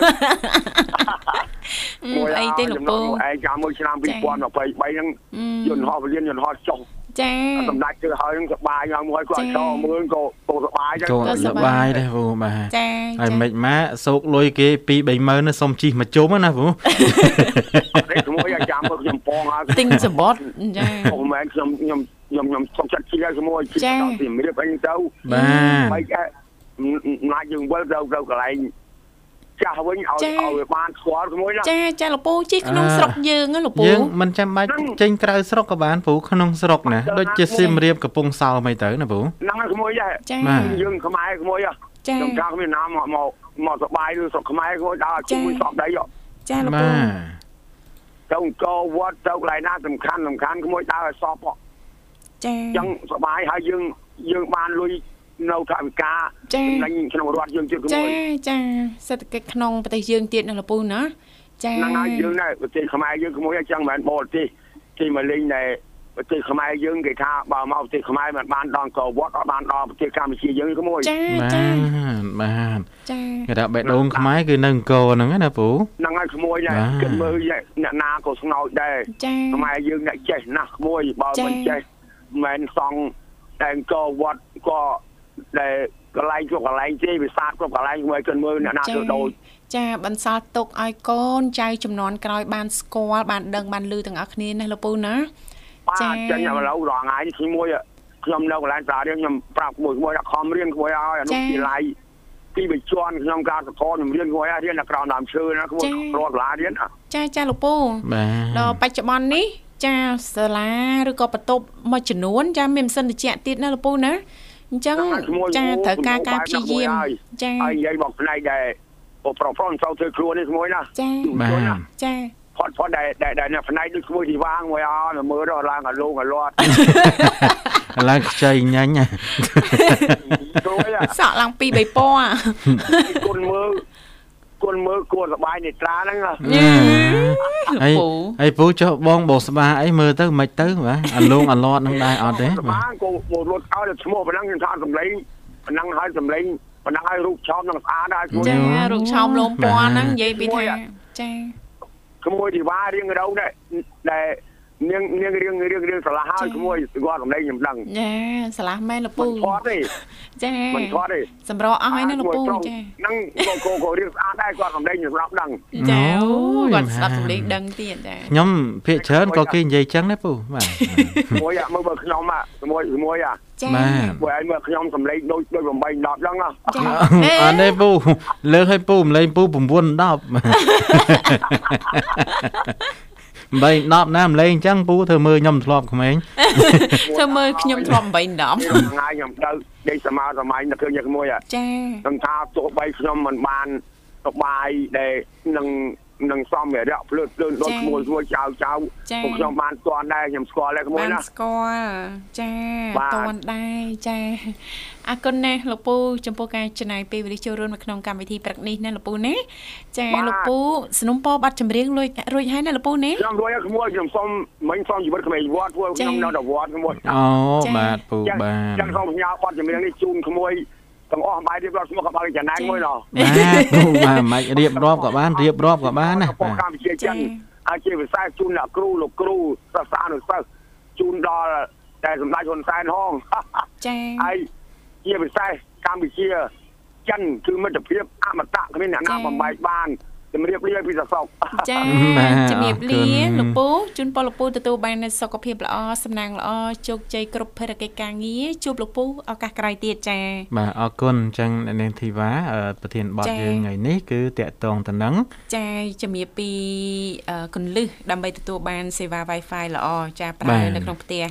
Speaker 2: អឺអីទេលោកពូ
Speaker 6: ឯងចាំមួយឆ្នាំ
Speaker 2: ចា៎
Speaker 6: 2023ហ្នឹង
Speaker 2: អ
Speaker 6: យ
Speaker 2: ឺ
Speaker 6: ន្តហោះពលានយន្តហោះចុះ
Speaker 2: ចា
Speaker 6: សម្ដេចធ្វើឲ្យហ្នឹងសបាយឡើងមកឲ្យគាត់ចោលមើលក៏ក៏សបាយចឹង
Speaker 3: ចូលសប្បាយដែរពូបាទ
Speaker 2: ចា
Speaker 3: ហើ
Speaker 2: ចា
Speaker 3: យមិនម៉ាសោកលុយគេ2 30000ណាសុំជីកមកជុំណា
Speaker 6: [LAUGHS]
Speaker 3: ពូ
Speaker 6: អីក្មួយអាចាំមើលខ្ញុំផងហើយ
Speaker 2: ទិញសម្ប [LAUGHS] ត្តិចា
Speaker 6: អូមែនខ្ញុំខ្ញុំខ្ញុំខ្ញុំសុខចិត្តជាក្មួយជិះ
Speaker 2: ចា៎
Speaker 6: ដល់ពីរៀបអីទៅ
Speaker 3: បាទ
Speaker 6: បែកណាច់យើងវិលទៅទៅកន្លែងចាស់វិញឲ្យ
Speaker 2: ចា៎
Speaker 6: ឲ្យវាបានស្គាល់ក្មួយណា
Speaker 2: ចាចាលកពូជីក្នុងស្រុកយើងណាលកពូ
Speaker 3: យើងមិនចាំបាច់
Speaker 6: ហ្នឹង
Speaker 3: ចេញក្រៅស្រុកក៏បានពូក្នុងស្រុកណា
Speaker 6: បាទ
Speaker 3: ដូចជាសៀមរាបកំពង់សោមអីទៅណាពូ
Speaker 6: ហ្នឹងហើយក្មួយដែរ
Speaker 2: ចា
Speaker 3: បាទ
Speaker 6: យើងខ្មែរក្មួយហ៎
Speaker 2: ចា
Speaker 6: ខ្ញុំកាគ្មានណាមកមកមកសបាយឬស្រុកខ្មែរក្មួយដល់ឲ្យជាមួយស្បដីហ៎
Speaker 2: ចាលកពូ
Speaker 3: បាទ
Speaker 6: ទៅអង្គរវត្តទៅកន្លែងណាសំខាន់សំខាន់ក្មួយដើរឲ្យសពហ៎
Speaker 2: ចា
Speaker 6: អញ្ចឹងសបាយហើយយើងយើងបានលុយនៅថវិកា
Speaker 2: ចា
Speaker 6: ចំណេញក្នុងរដ្ឋយើងទៀតក្មួ
Speaker 2: ចា
Speaker 6: យ
Speaker 2: ចាសេដ្ឋកិច្ចក្នុងប្រទេសយើងទៀតណាលកពូណាចា
Speaker 6: ហ្នឹងហើយយើងដែរប្រទេសខ្មែរយើងក្មួយអញ្ចឹងមិនមែនបរទេសគេមកលេងតែប្រទេសខ្មែរយើងគេថាបើមកប្រទេសខ្មែរមិនបានដល់កោវត្តអត់បានដល់ប្រទេសកម្ពុជាយើងក្មួយ
Speaker 2: ចា
Speaker 3: បា
Speaker 2: ចា
Speaker 3: ទបាទ
Speaker 2: ចា
Speaker 3: គេថាបេះដូងខ្មែរគឺនៅអង្គរហ្នឹងណាពូ
Speaker 6: ហ្នឹងហើយក្មួយដែរ
Speaker 3: បាទ
Speaker 6: គិតមើលអ្នកណាក៏ស្ងោចដែរ
Speaker 2: ចា
Speaker 6: ខ្មែរយើងអ្នកចេះណាស់ក្មួយបើ
Speaker 2: ចា៎
Speaker 6: មិនចេះមិនមែនសង់តែអង្គរវត្តក៏ដែលកន្លែងគ្រប់កន្លែងទេវាសាទគ្រប់កន្លែងក្មួយគិតមើលអ្នកណាទៅដូច
Speaker 2: ចាបន្សល់ទុកឲ្យកូនចៅចំនួនក្រោយបានស្គាល់បានដឹងបានលឺទាំងអស់គ្នាណាលកពូណា
Speaker 6: បា
Speaker 2: ចា៎
Speaker 6: ទចឹងឥឡូវរងថ្ងៃនេះក្មួយខ្ញុំនៅកន្លែងសាលារៀនខ្ញុំប្រាប់ក្មួយក្មួយដាក់ខំរៀនក្មួយឲ្យអនុវិទ្យាល័យទីបញ្ជាន់ខ្ញុំការសកលខ្ញុំរៀនក្មួយឲ្យរៀននៅក្រោមដើមឈើណាក្មួយរត់សាលារៀនណា
Speaker 2: ចាចាលកពូ
Speaker 3: បាទ
Speaker 2: ដល់បច្ចុប្បន្ននេះចាសាលាឬក៏បន្ទប់មួយចំនួនចាមានម៉ាស៊ីនត្រជាក់ទៀតណាលោកពូណាអញ្ចឹងចាត្រូវការការព្យាយាមចា
Speaker 6: ហើយនិយាយមកផ្នែកដែរអូប្រប្រុសមិនចូលធ្វើគ្រួនេះក្មួយណា
Speaker 2: ចា
Speaker 3: បាទ
Speaker 2: ចា
Speaker 6: ផត់ផត់ដែរដែរដែរនៅផ្នែកដូចក្មួយទីវាងក្មួយអោនៅមើលដល់ឡើងកលងក
Speaker 2: [LAUGHS]
Speaker 6: លាត់
Speaker 3: ឡើងខ្ចីញ៉ាញ់ណា
Speaker 6: ក្មួយណា
Speaker 2: សក់ឡើងពីរបីពណ៌
Speaker 6: គុណមើលគុណមើលគួរសបាយនេត្រាហ្នឹងណា
Speaker 3: អឺ
Speaker 2: អឺ
Speaker 3: ហើយ
Speaker 2: លោកពូ
Speaker 3: ហើយពូចុះបងបោស្បាអីមើលទៅមិនទៅបាទអាលងអាឡត់ហ្នឹងដែរអត់ទេ
Speaker 6: ស
Speaker 3: បាទ
Speaker 6: បាងក៏មករត់ឲ្យតែឈ្មោះប៉ុណ្ណឹងខ្ញុំថាសម្លេងប៉ុណ្ណឹងឲ្យសម្លេងប៉ុណ្ណឹងឲ្យរូបឆោមនឹងស្អាតឲ្យខ្លួន
Speaker 2: ចារូបឆោមលោមពណ៌ហ្នឹងនិយាយពីថាចា
Speaker 6: ក្មួយធីវ៉ារៀងរោដែរដែលនាងនាងរៀងរៀងរៀងស្រឡះឲ្យក្មួយគាត់សម្លេងខ្ញុំដឹង
Speaker 2: ចាឆ្លាស់មែនលោកពូ
Speaker 6: មិនធាត់ទេ
Speaker 2: ចា
Speaker 6: មិនធាត់ទេ
Speaker 2: សម្រោអស់ហើយណាលោកពូចា
Speaker 6: ហ្នឹងក៏ក៏ក៏រៀងស្អាតដែរគាត់សម្លេងខ្ញុំស្រាប់ដឹង
Speaker 2: ចាអូគាត់ស្ដាប់សំឡេងដឹងទៀតចា
Speaker 3: ខ្ញុំភាកច្រើនក៏គេនិយាយចឹងដែរពូបាទ
Speaker 6: ក្មួយមើលបើខ្ញុំអាក្មួយក្មួយអា
Speaker 2: ចា
Speaker 3: បាទ
Speaker 6: បើឲ្យមើលខ្ញុំសម្លេងដូចដូច8 10ហ្នឹង
Speaker 2: ចា
Speaker 3: អ
Speaker 6: ណា
Speaker 3: ត់ទេពូលើកឲ្យពូម្លេង
Speaker 2: [LAUGHS]
Speaker 3: ពូ9 10 [LAUGHS] 8 10ណាម្លេងចឹងពូធ្វើមើលខ្ញុំធ្លាប់ក្មេង
Speaker 2: ធ្វើមើលខ្ញុំធ្លាប់8 10
Speaker 6: [LAUGHS] ថ្ងៃខ្ញុំទៅដេកសមាសម័យនៅគ្រឿងយកក្មួយអា
Speaker 2: ចា
Speaker 6: ខ្ញុំថាទោះបីខ្ញុំមិនបានសុបាយដែលនឹងនឹងសំរៈភ្លើតភ្លើនដូចក្មួយមួយចៅចៅ
Speaker 2: ចា
Speaker 6: ពួកខ្ញុំបានស្គាល់ដែរខ្ញុំស្គាល់ដែរក្មួយ
Speaker 2: បាន
Speaker 6: ណា
Speaker 2: ស្គាល់ចា
Speaker 6: បាទ
Speaker 2: តន់ដែរចាអរគុណណាស់លោកពូចំពោះការចំណាយពេលវេលាចូលរួមនៅក្នុងកម្មវិធីព្រឹកនេះណាលោកពូណាចាលោកពូสนុំពរបាត់ចម្រៀងលួយរួចហើយណាលោកពូណា
Speaker 6: ខ្ញុំរួចហើយក្មួយខ្ញុំសុំមិញសុំជីវិតក្មេងវត្តពួក
Speaker 2: ចា៎
Speaker 6: ខ្ញុំនៅតែវត្តក្មួយ
Speaker 3: អូបាទពូបាទ
Speaker 6: ចឹងខ្ញុំផ្ញើប័ណ្ណចម្រៀងនេះជូនក្មួយ ទាំងអស់បាយរៀបរាប់ឈ្មោះក៏បានចំណាយមួយណោះ
Speaker 3: បាទ
Speaker 2: [LAUGHS]
Speaker 3: គ្រូបាទមិនអាចរៀបរាប់ក៏បានរៀបរាប់ក៏បានណា
Speaker 6: ប
Speaker 3: បាទ ទ
Speaker 6: កម្ពុជាចិនអាចជាវិស័យជូនអ្នកគ្រូលោកគ្រូសិស្សានុសិស្សជូនដល់តែសម្ដេចហ៊ុនសែនហង
Speaker 2: ចា
Speaker 6: ហើយជាពិសេសកម្ពុជាចិនគឺមិត្តភាពអមតៈគ្មានអ្នកណាបំបែកបានជំរាបលាពីសសក
Speaker 2: ចាជំរាបលាលោកពូជូនពលលោកពូទទួលបាននូវសុខភាពល្អសំណាងល្អជោគជ័យគ្រប់ភារកិច្ចការងារជួបលោកពូឱកាសក្រោយទៀតចា
Speaker 3: បាទអរគុណអញ្ចឹងអ្នកនាងធីវ៉ាអឺប្រធានបទ
Speaker 2: ចា៎
Speaker 3: យើងថ្ងៃនេះគឺតកតងទៅនឹង
Speaker 2: ចាជំរាបពីអឺគន្លឹះដើម្បីទទួលបានសេវា Wi-Fi ល្អចា
Speaker 3: បា
Speaker 2: ប្រើ
Speaker 3: ទ
Speaker 2: នៅក្នុងផ្ទះ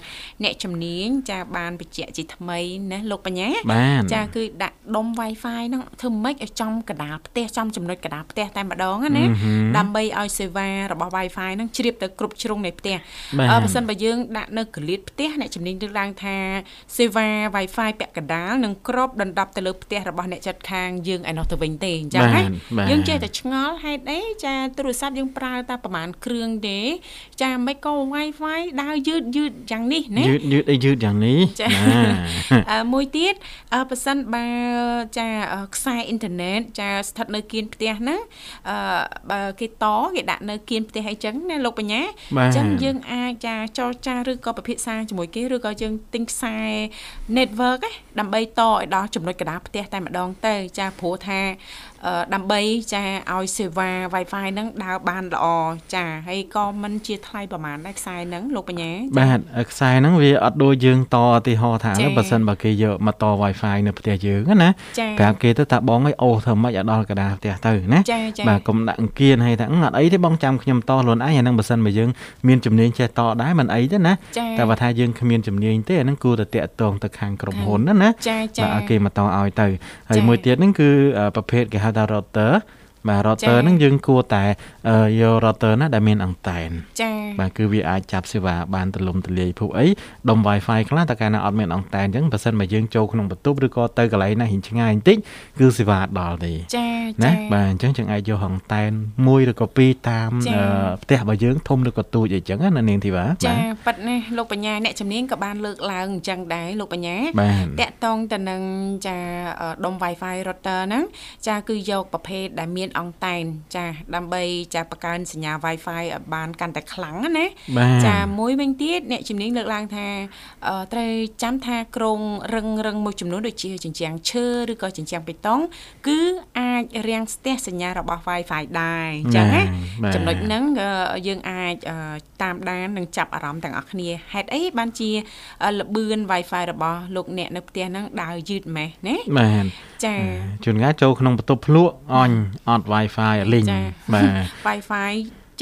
Speaker 2: អ្នកជំនាញចាបានបញ្ជាក់ជាថ្មីណាលោកបញ្ញា
Speaker 3: បាន
Speaker 2: ចាគឺដាក់ដុំ Wi-Fi ហ្នឹងធ្វើម៉េចឲ្យចំកណ្ដាលផ្ទះចំចំណុចកណ្ដាលផ្ទះតែម្ដងណាណាដើម្បីឲ្យសេវារបស់ Wi-Fi ហ្នឹងជ្រាបទៅគ្រប់ជ្រុងនៃផ្ទះ
Speaker 3: បាទ
Speaker 2: អឺបើសិនបើយើងដាក់នៅកលៀតផ្ទះអ្នកជំនាញលើកឡើងថាសេវា Wi-Fi ពាក់កណ្ដាលនឹងគ្របដណ្ដប់ទៅលើផ្ទះរបស់អ្នកចាត់ខាងយើងឯណោះទៅវិញទេអញ្ចឹង
Speaker 3: បា
Speaker 2: ណា
Speaker 3: ទបាទ
Speaker 2: យើងចេះតែឆ្ងល់ហេតុអីចាទូរស័ព្ទយើងប្រើតែប្រហែលគ្រឿងទេចាមិនក៏ Wi-Fi ដើរយឺតយឺតយ៉ាងនេះណា
Speaker 3: យឺតយឺតអីយឺតយ៉ាងនេះ
Speaker 2: ចា៎
Speaker 3: ណា
Speaker 2: [LAUGHS] អឺមួយទៀតអឺប៉ះសិនបើចាអឺខ្សែអ៊ីនធឺណិតចាស្ថិតនៅគៀនផ្ទះហ្នឹងអឺបើគេតគេដាក់នៅគៀនផ្ទះអីចឹងណាលោកបញ្ញា
Speaker 3: បាទ
Speaker 2: ចឹងយើងអាចចាចរចាឬក៏ពិភាក្សាជាមួយគេឬក៏យើងទិញខ្សែ network ណាដើម្បីតឲ្យដល់ចំណុចកណ្ដាលផ្ទះតែម្ដងទៅចាព្រោះថាអឺដើម្បីចាឲ្យសេវា Wi-Fi ហ្នឹងដើរបានល្អចាហើយក៏មិនជាថ្លៃប្រហែលដែរខ្សែហ្នឹងលោកបញ្ញា
Speaker 3: បាទអឺខ្សែហ្នឹងវាអត់ដូចយើងតឧទាហរណ៍ថាឥ
Speaker 2: ចា៎
Speaker 3: ឡូវបើសិនបើគេយកមកត Wi-Fi នៅផ្ទះយើងហ្នឹងណា
Speaker 2: ចា៎
Speaker 3: ប្រាប់គេទៅថាបងអីអូធ្វើម៉េចឲ្យដល់កណ្ដាលផ្ទះទៅណា
Speaker 2: ចា៎ចា៎
Speaker 3: បាទកុំដាក់អង្គៀនឲ្យថាអឺអត់អីទេបងចាំខ្ញុំតខ្លួនឯងអាហ្នឹងបើសិនបើយើងមានជំនាញចេះតដែរមិនអីទេណា
Speaker 2: ចា
Speaker 3: តែបើថាយើងគ្មានជំនាញទេអាហ្នឹងគួរតែតាក់ទងទៅខាងក្រុមហ៊ុនណាណា
Speaker 2: ចាចា
Speaker 3: បាទឲ្យគេមកតឲ្យទៅហើយ
Speaker 2: ចា៎
Speaker 3: មួយទៀតហ្នឹងគឺអឺប្រភេទគេហៅថា router បាទ
Speaker 2: ចា៎
Speaker 3: router ហ្នឹងយើងគួរតែអឺយក router ណាដែលមានអង្តែន
Speaker 2: ចា
Speaker 3: បាទគឺវាអាចចាប់សេវាបានទលំទលាយភពអីដុំ Wi-Fi ខ្លះតែកាលណាអត់មានអង្តែនអញ្ចឹងបើសិនបើយើងចូលក្នុងបន្ទប់ឬក៏ទៅកន្លែងណាហិញឆ្ងាយបន្តិចគឺសេវាអត់ដល់ទេ
Speaker 2: ចា
Speaker 3: ណា
Speaker 2: ចា
Speaker 3: បាទអញ្ចឹងយើងអាចយកអង្តែនមួយឬក៏ពីរតាម
Speaker 2: ចា៎
Speaker 3: អឺផ្ទះរបស់យើងធំឬក៏តូចអីចឹងណានាងធីវ៉ា
Speaker 2: ចាប៉ិតណាស់លោកបញ្ញាអ្នកជំនាញក៏បានលើកឡើងអញ្ចឹងដែរលោកបញ្ញា
Speaker 3: បាទ
Speaker 2: តាក់តងទៅនឹងចាអឺដុំ Wi-Fi router ហ្នឹងចាគឺយកប្រភេទដែលមានអង្តែនចាដើម្បីចាបង្កើនសញ្ញា Wi-Fi ឲ្យបានកាន់តែខ្លាំងណាណា
Speaker 3: បាទ
Speaker 2: ចាមួយវិញទៀតអ្នកជំនាញលើកឡើងថាអឺត្រូវចាំថាក្រងរឹងរឹងមួយចំនួនដូចជាជញ្ជាំងឈើឬក៏ជញ្ជាំងបេតុងគឺអាចរាំងស្ទះសញ្ញារបស់ Wi-Fi ដែរអញ្ចឹងណា
Speaker 3: បាទ
Speaker 2: ចំណុចហ្នឹងអឺយើងអាចអឺតាមដាននិងចាប់អារម្មណ៍ទាំងអស់គ្នាហេតុអីបានជាអឺលបឿន Wi-Fi របស់លោកអ្នកនៅផ្ទះហ្នឹងដើរយឺតម៉េះណា
Speaker 3: បាទ
Speaker 2: ចា
Speaker 3: ជួនកាលចូលក្នុងបន្ទប់ភ្លក់អញអត់ Wi-Fi លីង
Speaker 2: ចា៎
Speaker 3: បាទ
Speaker 2: Wi-Fi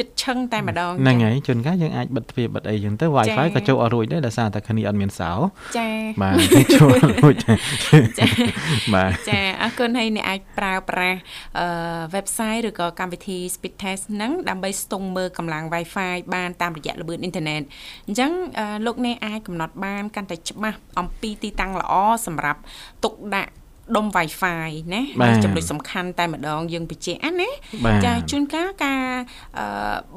Speaker 2: ចិត្តឆឹងតែម្ដង
Speaker 3: ហ្នឹងហើយជួនកាលយើងអាចបិទទ្វារបិទអីចឹងទៅ Wi-Fi
Speaker 2: ចា៎
Speaker 3: ក៏ចូលអត់រួចដែរដោយសារតែគ្នាអត់មានសោ
Speaker 2: ចា
Speaker 3: បាទ [LAUGHS] គេជួលរួច [LAUGHS] បាទ
Speaker 2: ចាអរគុណហើយអ្នកអាចប្រើប្រាស់អឺ website ឬក៏កម្មវិធី speed test ហ្នឹងដើម្បីស្ទង់មើលកម្លាំង Wi-Fi បានតាមរយៈល្បឿនអ៊ីនធឺណិតអញ្ចឹងអឺលោកអ្នកអាចកំណត់បានកាន់តែច្បាស់អំពីទីតាំងល្អសម្រាប់ទុកដាក់ដុំ Wi-Fi ណា
Speaker 3: បាទ
Speaker 2: ចំណុចសំខាន់តែម្ដងយើងបញ្ជាក់ណា
Speaker 3: បាទ
Speaker 2: ចាជួនកាលការអឺ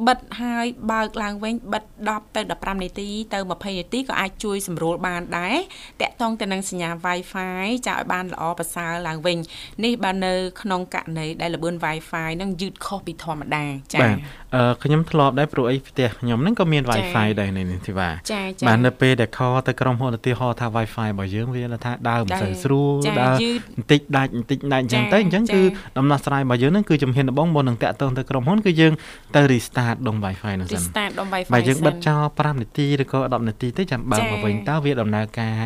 Speaker 2: បិទហើយបើកឡើងវិញបិទ10ទៅ15នាទីទៅ20នាទីក៏អាចជួយសម្រួលបានដែរតាក់ទងទៅនឹងសញ្ញា Wi-Fi ចាឲ្យបានល្អប្រសើរឡើងវិញនេះបើនៅក្នុងករណីដែលល្បឿន Wi-Fi នឹងយឺតខុសពីធម្មតាចា
Speaker 3: បាទអឺខ្ញុំធ្លាប់ដែរព្រោះអីផ្ទះខ្ញុំហ្នឹងក៏មាន
Speaker 2: ចា៎
Speaker 3: Wi-Fi ដែរនៅនេះទីវ៉ា
Speaker 2: ចាចា
Speaker 3: បាទនៅពេលដែលខលទៅក្រុមហ៊ុនឧទាហរណ៍ថា Wi-Fi របស់យើងវាថាដើរមិនសូវស្រួល
Speaker 2: ចា៎
Speaker 3: ដើរ
Speaker 2: យឺត
Speaker 3: បន្តិចដាច់បន្តិចដាច់អញ្ចឹងទៅ
Speaker 2: ចា៎
Speaker 3: អញ្ចឹង
Speaker 2: ចា៎
Speaker 3: គឺដំណោះស្រាយរបស់យើងហ្នឹងគឺជំហានដំបូងមុននឹងតាក់ទងទៅក្រុមហ៊ុនគឺយើងទៅ restart ដុំ Wi-Fi ហ្នឹង
Speaker 2: ទី
Speaker 3: សិន
Speaker 2: start ដុំ Wi-Fi
Speaker 3: បាទយើងបិទ
Speaker 2: សិន
Speaker 3: ចោល5នាទីឬក៏10នាទីទៅចាំបើក
Speaker 2: ចា៎
Speaker 3: មកវិញតើវាដំណើរការ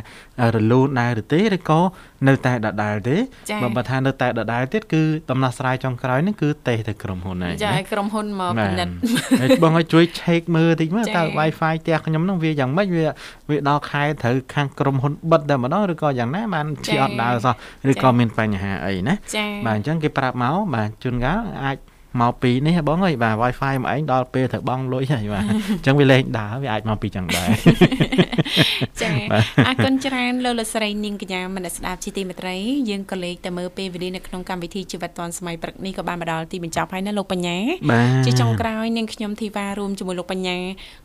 Speaker 3: រលូនដែរឬទេឬក៏នៅតែដដែលទេ
Speaker 2: ចា៎
Speaker 3: បើបើថានៅតែដដែលទៀតគឺដំណោះស្រាយចុងក្រោយហ្នឹងគឺទេសទៅក្រុមហ៊ុនហើយ
Speaker 2: ចា
Speaker 3: ណា
Speaker 2: ឲ្យក្រុមហ៊ុនមកពិនិត្យ [LAUGHS]
Speaker 3: ហើយបងឲ្យជួយ check មើលតិចមើល
Speaker 2: ចា៎
Speaker 3: តើ Wi-Fi ផ្ទះខ្ញុំហ្នឹងវាយ៉ាងម៉េចវាវាដល់ខែត្រូវខាងក្រុមហ៊ុនបិទតែម្ដងឬក៏យ៉ាងណាបានជាអត់ដើរសោះឬក៏មានបញ្ហាអីណា
Speaker 2: ចា
Speaker 3: បាទអញ្ចឹងគេប្រាប់មកបាទជួនកាលអាច មកពីនេះបងអើយបាទ Wi-Fi មកឯងដល់ពេលត្រូវបង់លុយហើយបាទអញ្ចឹងវាលេងដើរវាអាចមកពីចឹងដែរ
Speaker 2: ចាអរគុណច្រើនលោកលោកស្រីនាងកញ្ញាមនស្សស្ដាប់ជាទីមេត្រីយើងក៏លេខទៅមើលពេលវេលានៅក្នុងកម្មវិធីជីវិតឌွန်សម័យព្រឹកនេះក៏បានមកដល់ទីបញ្ចប់ហើយណាលោកបញ្ញា
Speaker 3: បាទ
Speaker 2: ជាចុងក្រោយនាងខ្ញុំធីវ៉ារួមជាមួយលោកបញ្ញា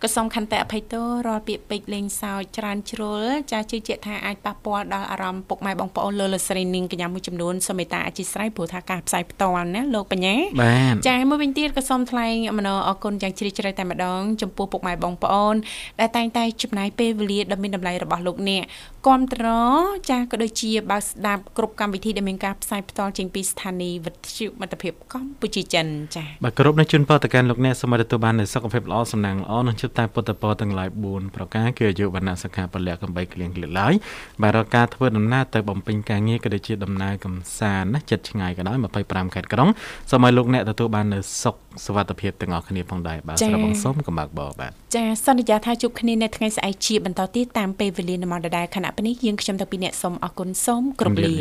Speaker 2: ក៏សូមខន្តិអភ័យទោសរាល់ពាក្យពេចន៍លេងសើចច្រើនជ្រុលចាជឿជាក់ថាអាចប៉ះពាល់ដល់អារម្មណ៍ពុកម៉ែបងប្អូនលោកលោកស្រីនាងកញ្ញាមួយចំនួនសូមមេត្តាអធិស្ឋានព្រោះថាការផ្សាយផ្ទាល់ណាលោកបញ្ញា
Speaker 3: បាទ
Speaker 2: ចាមួយវិញទៀតក៏សូមថ្លែងអំណរអគុណយ៉ាងជ្រាលជ្រៅតែម្ដងចំពោះពុកម៉ែបងប្អូនដែលតែងតែចំណាយពេលវេលាដ៏មានតម្លៃរបស់លោកអ្នកគាំទ្រចាក៏ដូចជាបើកស្ដាប់គ្រប់កម្មវិធីដែលមានការផ្សាយផ្ទាល់ចេញពីស្ថានីយ៍វិទ្យុមិត្តភាពកម្ពុជាចិនចា
Speaker 3: បាទគោរពនៅជូនពរតកានលោកអ្នកសូមឲ្យទទួលបាននូវសុខភាពល្អសំណាងល្អនិងជប់តែពុទ្ធពរទាំងឡាយ4ប្រការគឺអាយុវណ្ណៈសុខៈពលៈកំបីគ្លៀងគ្លៀឡើយបាទរកការធ្វើដំណើរទៅបំពេញការងារក៏ដូចជាដំណើរកំសាន្តណាចិត្តឆ្ងាយក៏ដោយ25ខេត្តក្រុងសូមឲ្យលោកអ្នកទទួលបាននូវសុខសុវត្ថិភាពទាំងអស់គ្នាផងដែរបាទស្រាប់បងសូមកុំបាក់បោបាទ
Speaker 2: ចាសន្យាថាជួបគ្នានៅថ្ងៃស្អែកជាបន្តទៀតតាមពេលវេលានៅម៉ោងដដែលខណៈពេលនេះយើងខ្ញុំទាំងពីរអ្នកសូមអរគុណសូមគោរពលា